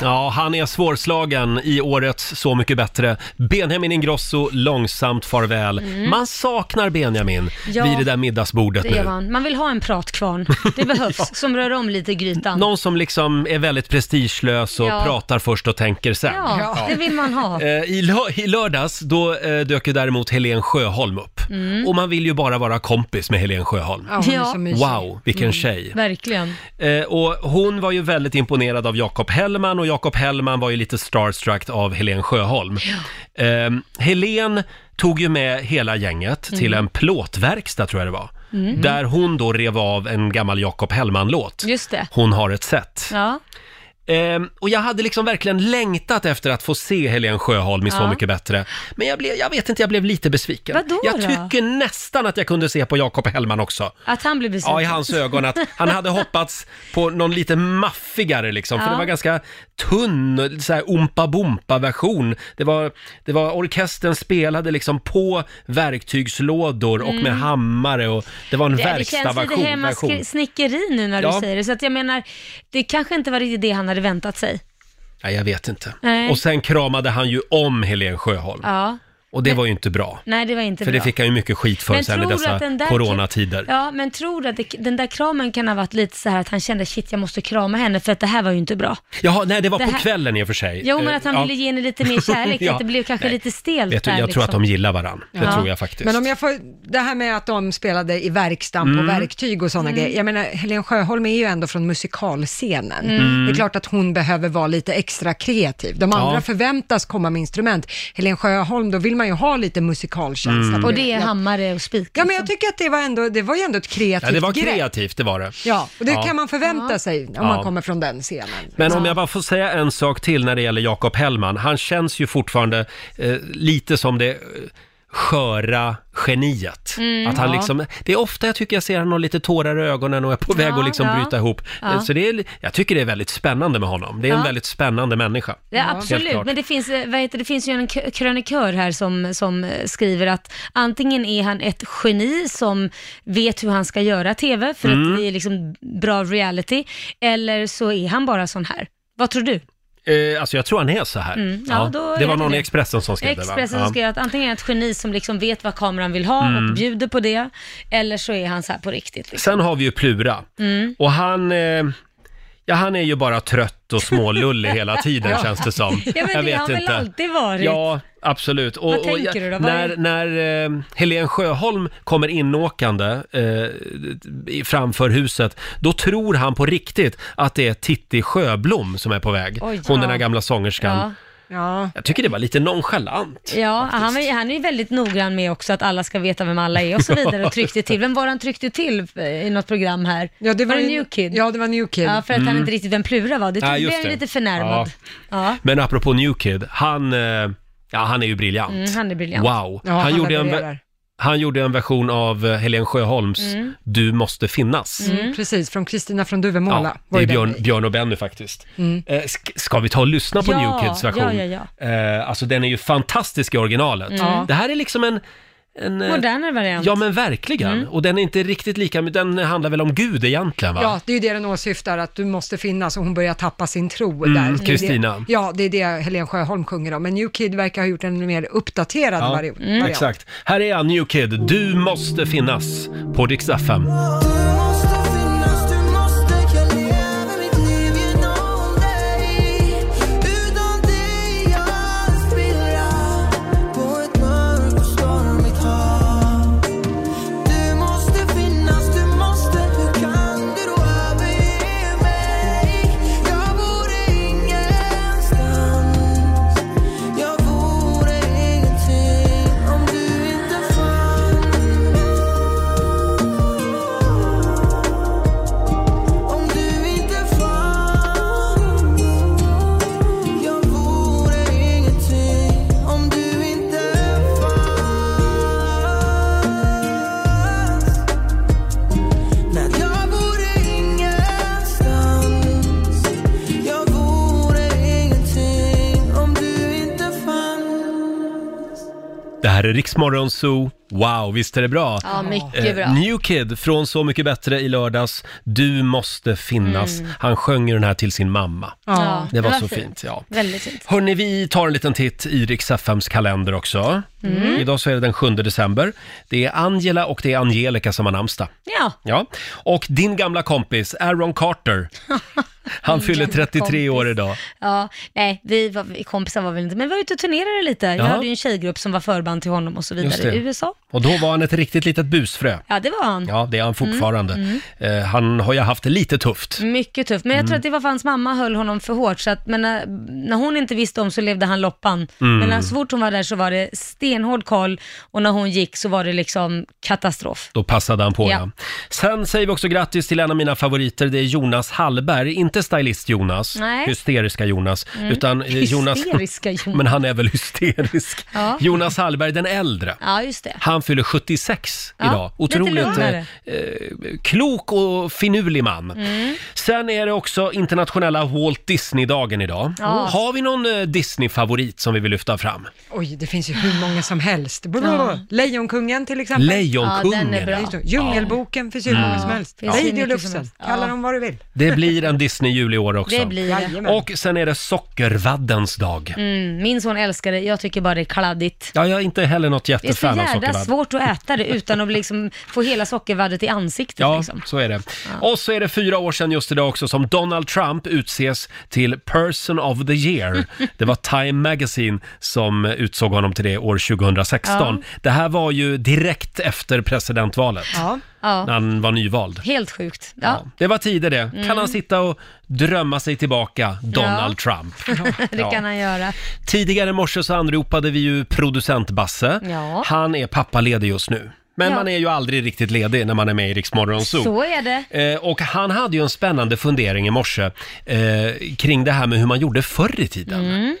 Speaker 1: Ja, han är svårslagen i årets Så mycket bättre. Benjamin Ingrosso, långsamt farväl.
Speaker 4: Mm.
Speaker 1: Man saknar Benjamin
Speaker 4: Ja.
Speaker 1: vid det där middagsbordet
Speaker 4: Det gör
Speaker 1: nu.
Speaker 4: man. man vill ha en pratkvarn. Det behövs, som rör om lite i grytan.
Speaker 1: Någon som liksom är väldigt prestigelös och
Speaker 4: Ja.
Speaker 1: pratar först och tänker sen.
Speaker 4: Ja, det vill man ha.
Speaker 1: Eh, I, lö- I lördags då eh, dök ju däremot Helen Sjöholm upp.
Speaker 4: Mm.
Speaker 1: Och man vill ju bara vara kompis med Helen Sjöholm.
Speaker 4: Ja, hon är så mysig.
Speaker 1: Wow, vilken
Speaker 4: Mm.
Speaker 1: tjej.
Speaker 4: Verkligen.
Speaker 1: Eh, och hon var ju väldigt imponerad av Jakob Hellman och Jakob Hellman var ju lite starstruck av Helen Sjöholm. Eh, Helen tog ju med hela gänget till
Speaker 4: Mm.
Speaker 1: en plåtverkstad tror jag det var.
Speaker 4: Mm.
Speaker 1: Där hon då rev av en gammal Jakob Hellman-låt.
Speaker 4: Just det.
Speaker 1: Hon har ett sätt.
Speaker 4: Ja.
Speaker 1: Ehm, och jag hade liksom verkligen längtat efter att få se Helen Sjöholm i Så
Speaker 5: Ja.
Speaker 1: mycket bättre. Men jag, blev, jag vet inte, jag blev lite besviken.
Speaker 4: Vadå
Speaker 1: jag
Speaker 4: då?
Speaker 1: tycker nästan att jag kunde se på Jakob Hellman också.
Speaker 4: Att han blir besviken.
Speaker 1: Ja, i hans ögon. Att han hade hoppats på någon lite maffigare liksom. För
Speaker 4: Ja.
Speaker 1: det var ganska tunn, så här ompa-bompa-version. Det var, det var, orkestern spelade liksom på verktygslådor och
Speaker 4: Mm.
Speaker 1: med hammare och det var en
Speaker 4: Det, det känns lite
Speaker 1: verkstadversion.
Speaker 4: hemma
Speaker 1: version.
Speaker 4: skri- snickeri nu när
Speaker 1: Ja.
Speaker 4: du säger det. Så att jag menar, det kanske inte var riktigt det han hade väntat sig.
Speaker 1: Nej, jag vet inte.
Speaker 4: Nej.
Speaker 1: Och sen kramade han ju om Helen Sjöholm.
Speaker 4: Ja.
Speaker 1: Och det
Speaker 4: Men-
Speaker 1: var ju inte bra.
Speaker 4: Nej, det var inte
Speaker 1: för
Speaker 4: bra.
Speaker 1: det fick han ju mycket skit för sen i
Speaker 4: tror du
Speaker 1: dessa
Speaker 4: att den där-
Speaker 1: coronatider.
Speaker 4: Ja, men tror du att det, den där kramen kan ha varit lite så här att han kände shit, jag måste krama henne för att det här var ju inte bra.
Speaker 1: Jaha, nej det var
Speaker 4: Det
Speaker 1: på
Speaker 4: här-
Speaker 1: kvällen i och för sig.
Speaker 4: Jo, men
Speaker 1: Eh,
Speaker 4: att han
Speaker 1: ja.
Speaker 4: ville ge henne lite mer kärlek,
Speaker 1: Ja.
Speaker 4: att det blev kanske
Speaker 1: Nej.
Speaker 4: lite stelt
Speaker 1: Vet du,
Speaker 4: där
Speaker 1: jag tror att
Speaker 4: liksom.
Speaker 1: de gillar varandra. Det
Speaker 2: Ja.
Speaker 1: tror jag faktiskt.
Speaker 2: Men om jag får, det här med att de spelade i verkstaden
Speaker 1: Mm.
Speaker 2: på verktyg och sådana
Speaker 1: Mm.
Speaker 2: grejer. Jag menar, Helen Sjöholm är ju ändå från musikalscenen.
Speaker 15: Mm.
Speaker 2: Det är klart att hon behöver vara lite extra kreativ. De andra
Speaker 15: Ja.
Speaker 2: förväntas komma med instrument. Helen Sjöholm, då vill man ju ha lite musikalkänsla.
Speaker 1: Mm.
Speaker 2: på
Speaker 1: Och det
Speaker 4: är hammare och spik. liksom.
Speaker 2: Ja, men jag tycker att det var ändå, det var ju ändå ett kreativt
Speaker 1: Ja, det var
Speaker 2: grepp.
Speaker 1: kreativt, det var det.
Speaker 2: Ja, och det
Speaker 1: Ja.
Speaker 2: kan man förvänta sig om
Speaker 1: Ja.
Speaker 2: man kommer från den scenen.
Speaker 1: Men om jag bara får säga en sak till när det gäller Jakob Hellman. Han känns ju fortfarande eh, lite som det eh, sköra geniet.
Speaker 5: Mm.
Speaker 1: att han
Speaker 5: Ja.
Speaker 1: liksom, det är ofta jag tycker jag ser honom lite tårar i ögonen och är på väg
Speaker 4: Ja,
Speaker 1: att liksom
Speaker 4: ja.
Speaker 1: bryta ihop.
Speaker 4: Ja.
Speaker 1: Eh, Så det är, jag tycker det är väldigt spännande med honom. Det är en
Speaker 4: Ja.
Speaker 1: väldigt spännande människa.
Speaker 4: Ja,
Speaker 1: Helt
Speaker 4: absolut,
Speaker 1: klart.
Speaker 4: men det finns, eh, vad heter, det finns ju en k- krönikör här som, som eh, skriver att antingen är han ett geni som vet hur han ska göra TV för
Speaker 1: Mm.
Speaker 4: att det är liksom bra reality, eller så är han bara sån här. Vad tror du?
Speaker 1: Eh, alltså jag tror han är så här.
Speaker 4: Mm, ja, då
Speaker 1: det
Speaker 4: är
Speaker 1: var
Speaker 4: det
Speaker 1: någon i
Speaker 4: det.
Speaker 1: Expressen som skrev det
Speaker 4: Expressen
Speaker 1: va?
Speaker 4: som skrev att antingen är han ett geni som liksom vet vad kameran vill ha
Speaker 1: Mm.
Speaker 4: och bjuder på det, eller så är han så här på riktigt. Liksom.
Speaker 1: Sen har vi ju Plura.
Speaker 4: Mm.
Speaker 1: Och han... Eh, Ja, han är ju bara trött och smålullig hela tiden
Speaker 4: Ja.
Speaker 1: känns det som.
Speaker 4: Ja, men
Speaker 1: jag
Speaker 4: det
Speaker 1: vet
Speaker 4: har han väl
Speaker 1: inte.
Speaker 4: alltid varit?
Speaker 1: Ja, absolut. Och,
Speaker 4: Vad
Speaker 1: och
Speaker 4: tänker du då? Vad
Speaker 1: När,
Speaker 4: är-
Speaker 1: när eh, Helen Sjöholm kommer inåkande eh, i- framför huset, då tror han på riktigt att det är Titti Sjöblom som är på väg.
Speaker 4: Oj.
Speaker 1: Hon den
Speaker 4: Ja.
Speaker 1: här gamla sångerskan.
Speaker 4: Ja.
Speaker 2: Ja,
Speaker 1: Jag tycker det var lite nonchalant.
Speaker 4: Ja, han, var- han är ju väldigt noggrann med också att alla ska veta vem alla är och så vidare och tryckte till. Vem var han tryckte till eh, i något program här?
Speaker 2: Ja, det var
Speaker 4: det
Speaker 2: ju-
Speaker 4: New Kid?
Speaker 2: Ja, det var New Kid.
Speaker 4: Ja, för att han
Speaker 1: Mm.
Speaker 4: inte riktigt vem Plura var. Det
Speaker 1: Nej,
Speaker 4: ja, blev
Speaker 1: just
Speaker 4: han ju
Speaker 1: det.
Speaker 4: lite förnärmad. Ja.
Speaker 1: Men apropå New Kid, han, eh, ja, han är ju briljant.
Speaker 4: Mm, han är briljant.
Speaker 1: Wow.
Speaker 4: Ja, han
Speaker 1: gjorde en,
Speaker 4: levererar.
Speaker 1: ver- han gjorde en version av eh, Helen Sjöholms
Speaker 2: Mm.
Speaker 1: Du måste finnas.
Speaker 2: Mm. Precis, från Kristina från
Speaker 1: Ja,
Speaker 2: Duvemåla.
Speaker 1: det
Speaker 2: var ju
Speaker 1: är
Speaker 2: den
Speaker 1: Björn,
Speaker 2: grejen.
Speaker 1: Björn och Benny faktiskt.
Speaker 2: Mm.
Speaker 1: Eh, sk- Ska vi ta och lyssna på
Speaker 2: Ja,
Speaker 1: New Kids version?
Speaker 2: ja, ja,
Speaker 1: Eh, alltså den är ju fantastisk i originalet.
Speaker 4: Mm. Ja.
Speaker 1: Det här är liksom en... en eh,
Speaker 4: Modernare variant.
Speaker 1: Ja men verkligen.
Speaker 2: Mm.
Speaker 1: Och den är inte riktigt lika, men den handlar väl om Gud egentligen va?
Speaker 2: Ja, det är ju det den åsyftar, att du måste finnas och hon börjar tappa sin tro
Speaker 1: Mm,
Speaker 2: där. Det är
Speaker 1: Kristina.
Speaker 2: det- Ja, det är det Helen Sjöholm sjunger om, men New Kid verkar ha gjort en mer uppdaterad
Speaker 1: Ja,
Speaker 2: vario- variant.
Speaker 1: Exakt. Här är han, New Kid. Du måste finnas på Dix FM. Det här är Riksmorgon Zoo. Wow, visst är det bra?
Speaker 5: Ja, mycket
Speaker 1: Eh,
Speaker 5: bra.
Speaker 1: New Kid från Så mycket bättre i lördags. Du måste finnas.
Speaker 5: Mm.
Speaker 1: Han sjöng ju den här till sin mamma.
Speaker 5: Ja.
Speaker 1: Det var, så fint. ja.
Speaker 5: Väldigt fint.
Speaker 1: Hörni, vi tar en liten titt i Rix FMs kalender också.
Speaker 5: Mm.
Speaker 1: Idag så är det den 7 december. Det är Angela och det är Angelica som har namnsdag.
Speaker 4: Ja.
Speaker 1: Ja, och din gamla kompis Aaron Carter. Han
Speaker 4: Min
Speaker 1: fyller
Speaker 4: gamla
Speaker 1: 33 år idag.
Speaker 4: Ja, nej, vi, var, vi kompisar var väl inte, men vi var ute och turnerade lite. Jag
Speaker 1: Ja.
Speaker 4: hade ju en tjejgrupp som var förband till honom och så
Speaker 1: Just
Speaker 4: vidare
Speaker 1: det.
Speaker 4: i USA.
Speaker 1: Och då var han ett riktigt litet busfrö.
Speaker 4: Ja, det var han.
Speaker 1: Ja, det är han fortfarande.
Speaker 4: Mm,
Speaker 1: Eh, han har ju haft det lite tufft.
Speaker 4: Mycket tufft, men jag tror
Speaker 1: Mm.
Speaker 4: att det var för hans mamma höll honom för hårt, så att, men när, när hon inte visste om så levde han loppan.
Speaker 1: Mm.
Speaker 4: Men när, så fort hon var där så var det stenhård koll och när hon gick så var det liksom katastrof.
Speaker 1: Då passade han på ja.
Speaker 4: Ja.
Speaker 1: Sen säger vi också grattis till en av mina favoriter, det är Jonas Hallberg. Inte inte stylist Jonas,
Speaker 4: Nej.
Speaker 1: hysteriska Jonas,
Speaker 4: Mm.
Speaker 1: utan eh, Jonas...
Speaker 4: Hysteriska Jonas.
Speaker 1: Men han är väl hysterisk.
Speaker 4: Ja.
Speaker 1: Jonas Hallberg den äldre.
Speaker 4: Ja, just det.
Speaker 1: Han fyller 76
Speaker 4: Ja,
Speaker 1: idag.
Speaker 4: lite
Speaker 1: Otroligt eh,
Speaker 4: lugnare.
Speaker 1: eh, klok och finurlig man.
Speaker 4: Mm.
Speaker 1: Sen är det också internationella Walt Disney-dagen idag.
Speaker 2: Ja.
Speaker 1: Har vi någon eh, Disney-favorit som vi vill lyfta fram?
Speaker 2: Oj, det finns ju hur många som helst.
Speaker 1: Ja.
Speaker 2: Lejonkungen till exempel.
Speaker 1: Lejonkungen, Ja, den är bra.
Speaker 2: Just det. Djungelboken finns ju hur
Speaker 1: Mm.
Speaker 2: många som helst.
Speaker 1: Ja.
Speaker 2: Lady och
Speaker 1: Finns ju
Speaker 2: Lufsen, kalla dem vad du vill.
Speaker 1: Det blir en Disney-jul i år också.
Speaker 4: Det blir det. Jajamän.
Speaker 1: Och sen är det sockervaddens dag.
Speaker 4: Mm, min son älskar det, jag tycker bara det är kladdigt.
Speaker 1: Ja, jag är inte heller något
Speaker 4: Det är så
Speaker 1: jättefan av
Speaker 4: jävla
Speaker 1: sockervadd.
Speaker 4: svårt att äta det utan att liksom få hela sockervaddet i ansiktet.
Speaker 1: Ja,
Speaker 4: liksom.
Speaker 1: så är det. Och så är det fyra år sedan just idag också som Donald Trump utses till Person of the Year. Det var Time Magazine som utsåg honom till det år 2016. Det här var ju direkt efter presidentvalet,
Speaker 4: Ja.
Speaker 1: när
Speaker 4: ja.
Speaker 1: han var nyvald.
Speaker 4: Helt sjukt. Ja.
Speaker 1: Det var tider det.
Speaker 4: Mm.
Speaker 1: Kan han sitta och drömma sig tillbaka, Donald Trump?
Speaker 4: det kan han göra.
Speaker 1: Tidigare i morse så anropade vi ju producent Basse.
Speaker 4: Ja.
Speaker 1: Han är pappaledig just nu. Men
Speaker 4: Ja.
Speaker 1: man är ju aldrig riktigt ledig när man är med i Rix Morgon Zoo.
Speaker 4: Så är det.
Speaker 1: Eh, och han hade ju en spännande fundering i morse eh, kring det här med hur man gjorde förr i tiden.
Speaker 4: Mm. Eh.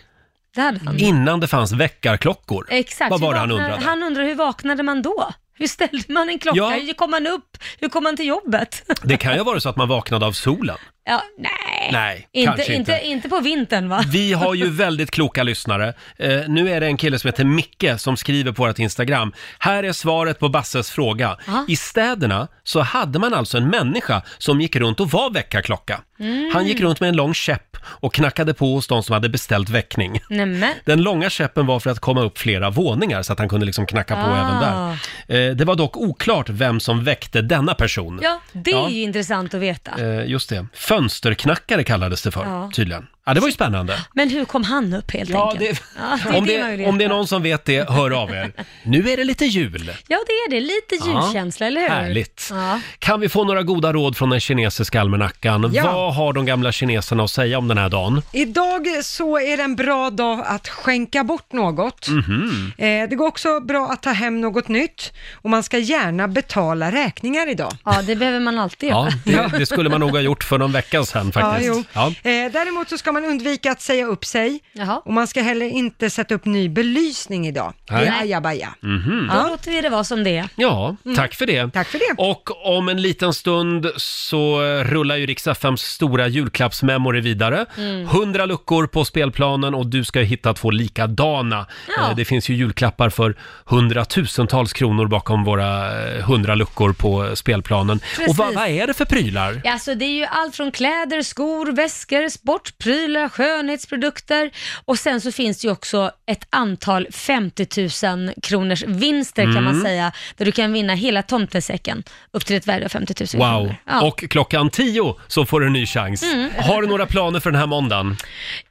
Speaker 4: Det hade han.
Speaker 1: Innan det fanns väckarklockor.
Speaker 4: Exakt.
Speaker 1: Vad
Speaker 4: Hur
Speaker 1: var det han
Speaker 4: vaknade-
Speaker 1: undrade?
Speaker 4: Han undrade hur vaknade man då? Hur ställde man en klocka?
Speaker 1: Ja.
Speaker 4: Hur kom man upp? Hur kom man till jobbet?
Speaker 1: Det kan ju ha varit så att man vaknade av solen.
Speaker 4: Ja, nej,
Speaker 1: Nej,
Speaker 4: inte,
Speaker 1: kanske inte.
Speaker 4: inte. inte på vintern va?
Speaker 1: Vi har ju väldigt kloka lyssnare. Eh, nu är det en kille som heter Micke som skriver på vårt Instagram. Här är svaret på Basses fråga.
Speaker 5: Ja.
Speaker 1: I städerna så hade man alltså en människa som gick runt och var väckarklocka.
Speaker 4: Mm.
Speaker 1: Han gick runt med en lång käpp och knackade på hos de som hade beställt väckning.
Speaker 4: Nämen.
Speaker 1: Den långa käppen var för att komma upp flera våningar så att han kunde liksom knacka på
Speaker 4: Ah.
Speaker 1: även där. Eh, det var dock oklart vem som väckte denna person.
Speaker 4: Ja, det
Speaker 1: Ja.
Speaker 4: är ju intressant att veta.
Speaker 1: Eh, just det. Fönsterknackare kallades det för,
Speaker 4: Ja.
Speaker 1: tydligen. Ja, det var ju spännande.
Speaker 4: Men hur kom han upp helt
Speaker 1: Ja,
Speaker 4: enkelt?
Speaker 1: det-
Speaker 4: Ja,
Speaker 1: om,
Speaker 4: man vill
Speaker 1: det,
Speaker 4: veta.
Speaker 1: om det är någon som vet det, hör av er. Nu är det lite jul.
Speaker 4: Ja, det är det. Lite
Speaker 1: Ja.
Speaker 4: julkänsla, eller hur?
Speaker 1: Härligt.
Speaker 4: Ja.
Speaker 1: Kan vi få några goda råd från den kinesiska almanackan?
Speaker 2: Ja.
Speaker 1: Vad har de gamla kineserna att säga om den här dagen?
Speaker 2: Idag så är det en bra dag att skänka bort något.
Speaker 1: Mhm.
Speaker 2: Eh, det går också bra att ta hem något nytt och man ska gärna betala räkningar idag.
Speaker 4: Ja, det behöver man alltid
Speaker 1: Ja, det, det skulle man nog ha gjort för någon vecka sedan faktiskt.
Speaker 2: Ja, jo. Eh, däremot så ska man undvika att säga upp sig och man ska heller inte sätta upp ny belysning idag.
Speaker 1: Nej.
Speaker 2: Det är ajabaja.
Speaker 1: Mhm.
Speaker 4: Då låter vi det vara som det är.
Speaker 1: Ja,
Speaker 4: Mm.
Speaker 1: tack för det.
Speaker 2: Tack för det.
Speaker 1: Och om en liten stund så eh, rullar ju Rix FMs stora julklappsmemory vidare.
Speaker 5: Mm.
Speaker 1: 100 luckor på spelplanen och du ska ju hitta två likadana.
Speaker 5: Ja.
Speaker 1: Eh, Det finns ju julklappar för hundratusentals kronor bakom våra eh, 100 luckor på eh, spelplanen.
Speaker 4: Precis.
Speaker 1: Och vad, vad är det för prylar?
Speaker 4: Ja, Alltså det är ju allt från kläder, skor, väskor, sportprylar, skönhetsprodukter och sen så finns det ju också ett antal 50 000 kronors vinster kan man
Speaker 1: Mm.
Speaker 4: säga, där du kan vinna hela tomtesäcken upp till ett värde av 50 000
Speaker 1: Wow!
Speaker 4: kronor. Ja.
Speaker 1: Och klockan 10 så får du en ny chans.
Speaker 4: Mm.
Speaker 1: Har du några planer för den här måndagen?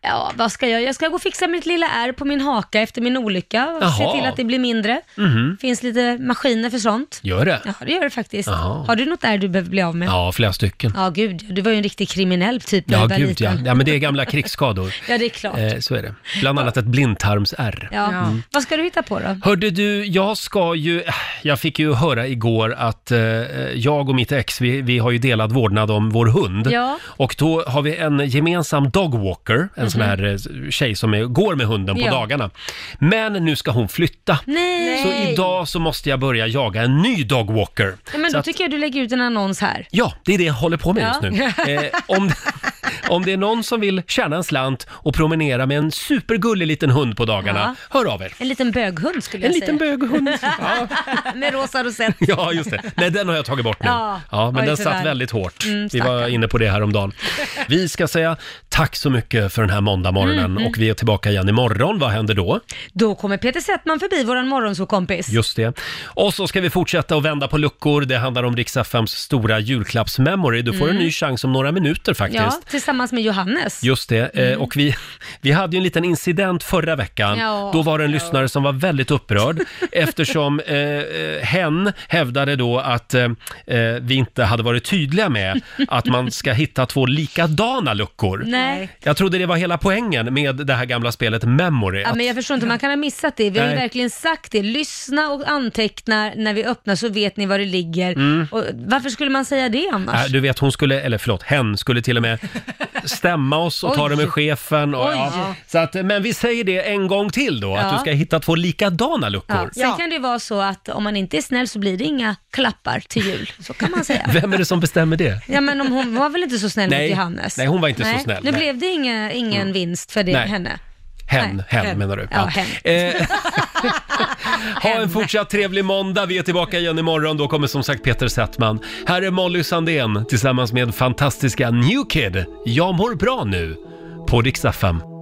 Speaker 4: Ja, vad ska jag? Jag ska gå och fixa mitt lilla ärr på min haka efter min olycka och
Speaker 1: Jaha.
Speaker 4: se till att det blir mindre.
Speaker 1: Mhm.
Speaker 4: finns lite maskiner för sånt.
Speaker 1: Gör det?
Speaker 4: Ja, det gör det faktiskt.
Speaker 1: Jaha.
Speaker 4: Har du något ärr du behöver bli av med?
Speaker 1: Ja, flera stycken.
Speaker 4: Ja, gud Du var ju en riktig kriminell typ när
Speaker 1: Ja,
Speaker 4: du var
Speaker 1: gud ja.
Speaker 4: liten.
Speaker 1: ja. Men det är gamla krigsskador.
Speaker 4: Ja, det är klart.
Speaker 1: Eh, så är det. Bland annat ett blindtarmsärr.
Speaker 4: Ja.
Speaker 1: Mm.
Speaker 4: Vad ska du hitta på då?
Speaker 1: Hörde du, jag ska ju... äh, Jag fick ju höra igår att eh, jag och mitt ex, vi, vi har ju delad vårdnad om vår hund.
Speaker 5: Ja.
Speaker 1: Och då har vi en gemensam dogwalker, en sån
Speaker 5: Mhm.
Speaker 1: här eh, tjej som är, går med hunden på
Speaker 5: Ja.
Speaker 1: dagarna. Men nu ska hon flytta.
Speaker 4: Nej.
Speaker 1: Så idag så måste jag börja jaga en ny dogwalker.
Speaker 4: Ja, men
Speaker 1: så
Speaker 4: då
Speaker 1: att-
Speaker 4: tycker jag du lägger ut en annons här.
Speaker 1: Ja, det är det jag håller på med
Speaker 4: Ja.
Speaker 1: just nu. Eh, om, om det är någon som vill tjäna en slant och promenera med en supergullig liten hund på dagarna, hör av er.
Speaker 4: En liten böghund skulle jag
Speaker 1: En
Speaker 4: säga.
Speaker 1: liten böghund.
Speaker 4: Med rosa rosett.
Speaker 1: Ja, just det. Nej, den har jag tagit bort nu. Ja,
Speaker 4: Ja.
Speaker 1: men
Speaker 4: Oj,
Speaker 1: den
Speaker 4: tyvärr.
Speaker 1: satt väldigt hårt.
Speaker 4: Mm,
Speaker 1: vi var
Speaker 4: stackarn.
Speaker 1: inne på det här om dagen. Vi ska säga tack så mycket för den här måndagmorgonen
Speaker 4: Mm, mm.
Speaker 1: och vi är tillbaka igen imorgon. Vad händer då?
Speaker 4: Då kommer Peter Settman förbi, våran morgonsåkompis.
Speaker 1: Just det. Och så ska vi fortsätta att vända på luckor. Det handlar om Rix FMs stora julklappsmemory. Du får en
Speaker 4: Mm.
Speaker 1: ny chans om några minuter faktiskt.
Speaker 4: Ja, tillsammans med Johannes.
Speaker 1: Just det, Eh,
Speaker 4: Mm.
Speaker 1: och vi, vi hade ju en liten incident förra veckan.
Speaker 4: Ja.
Speaker 1: Då var det en lyssnare som var väldigt upprörd eftersom eh, eh, hen hävdade då att eh, eh, vi inte hade varit tydliga med att man ska hitta två likadana luckor.
Speaker 4: Nej.
Speaker 1: Jag trodde det var hela poängen med det här gamla spelet Memory.
Speaker 4: Ja, men jag förstår inte, man kan ha missat det. Vi har ju
Speaker 1: Nej.
Speaker 4: verkligen sagt det. Lyssna och anteckna när vi öppnar så vet ni var det ligger.
Speaker 1: Mm.
Speaker 4: Och varför skulle man säga det annars?
Speaker 1: äh, Nej, du vet, hon skulle, eller förlåt, hen skulle till och med stämma oss och ta
Speaker 5: Oj.
Speaker 1: det med chefen. Och,
Speaker 5: Oj.
Speaker 1: ja. så att, men vi säger det en gång till då, att
Speaker 4: Ja.
Speaker 1: du ska hitta två likadana luckor.
Speaker 4: Ja. Sen kan det vara så att om man inte är snäll så blir det inga klappar till jul. Så kan man säga.
Speaker 1: Vem är det som bestämmer det?
Speaker 4: Ja, men om hon var väl inte så snäll
Speaker 1: Nej.
Speaker 4: mot Johannes?
Speaker 1: Nej, hon var inte så snäll.
Speaker 4: Nu
Speaker 1: Nej.
Speaker 4: blev det inga, ingen
Speaker 1: Mm.
Speaker 4: vinst för det,
Speaker 1: Nej.
Speaker 4: henne.
Speaker 1: Hen,
Speaker 4: Nej.
Speaker 1: hen
Speaker 4: Hen.
Speaker 1: menar du?
Speaker 4: Ja, hen.
Speaker 1: Eh, ha en fortsatt trevlig måndag. Vi är tillbaka igen imorgon. Då kommer som sagt Peter Settman. Här är Molly Sandén tillsammans med fantastiska New Kid. Jag mår bra nu på Riksaffären.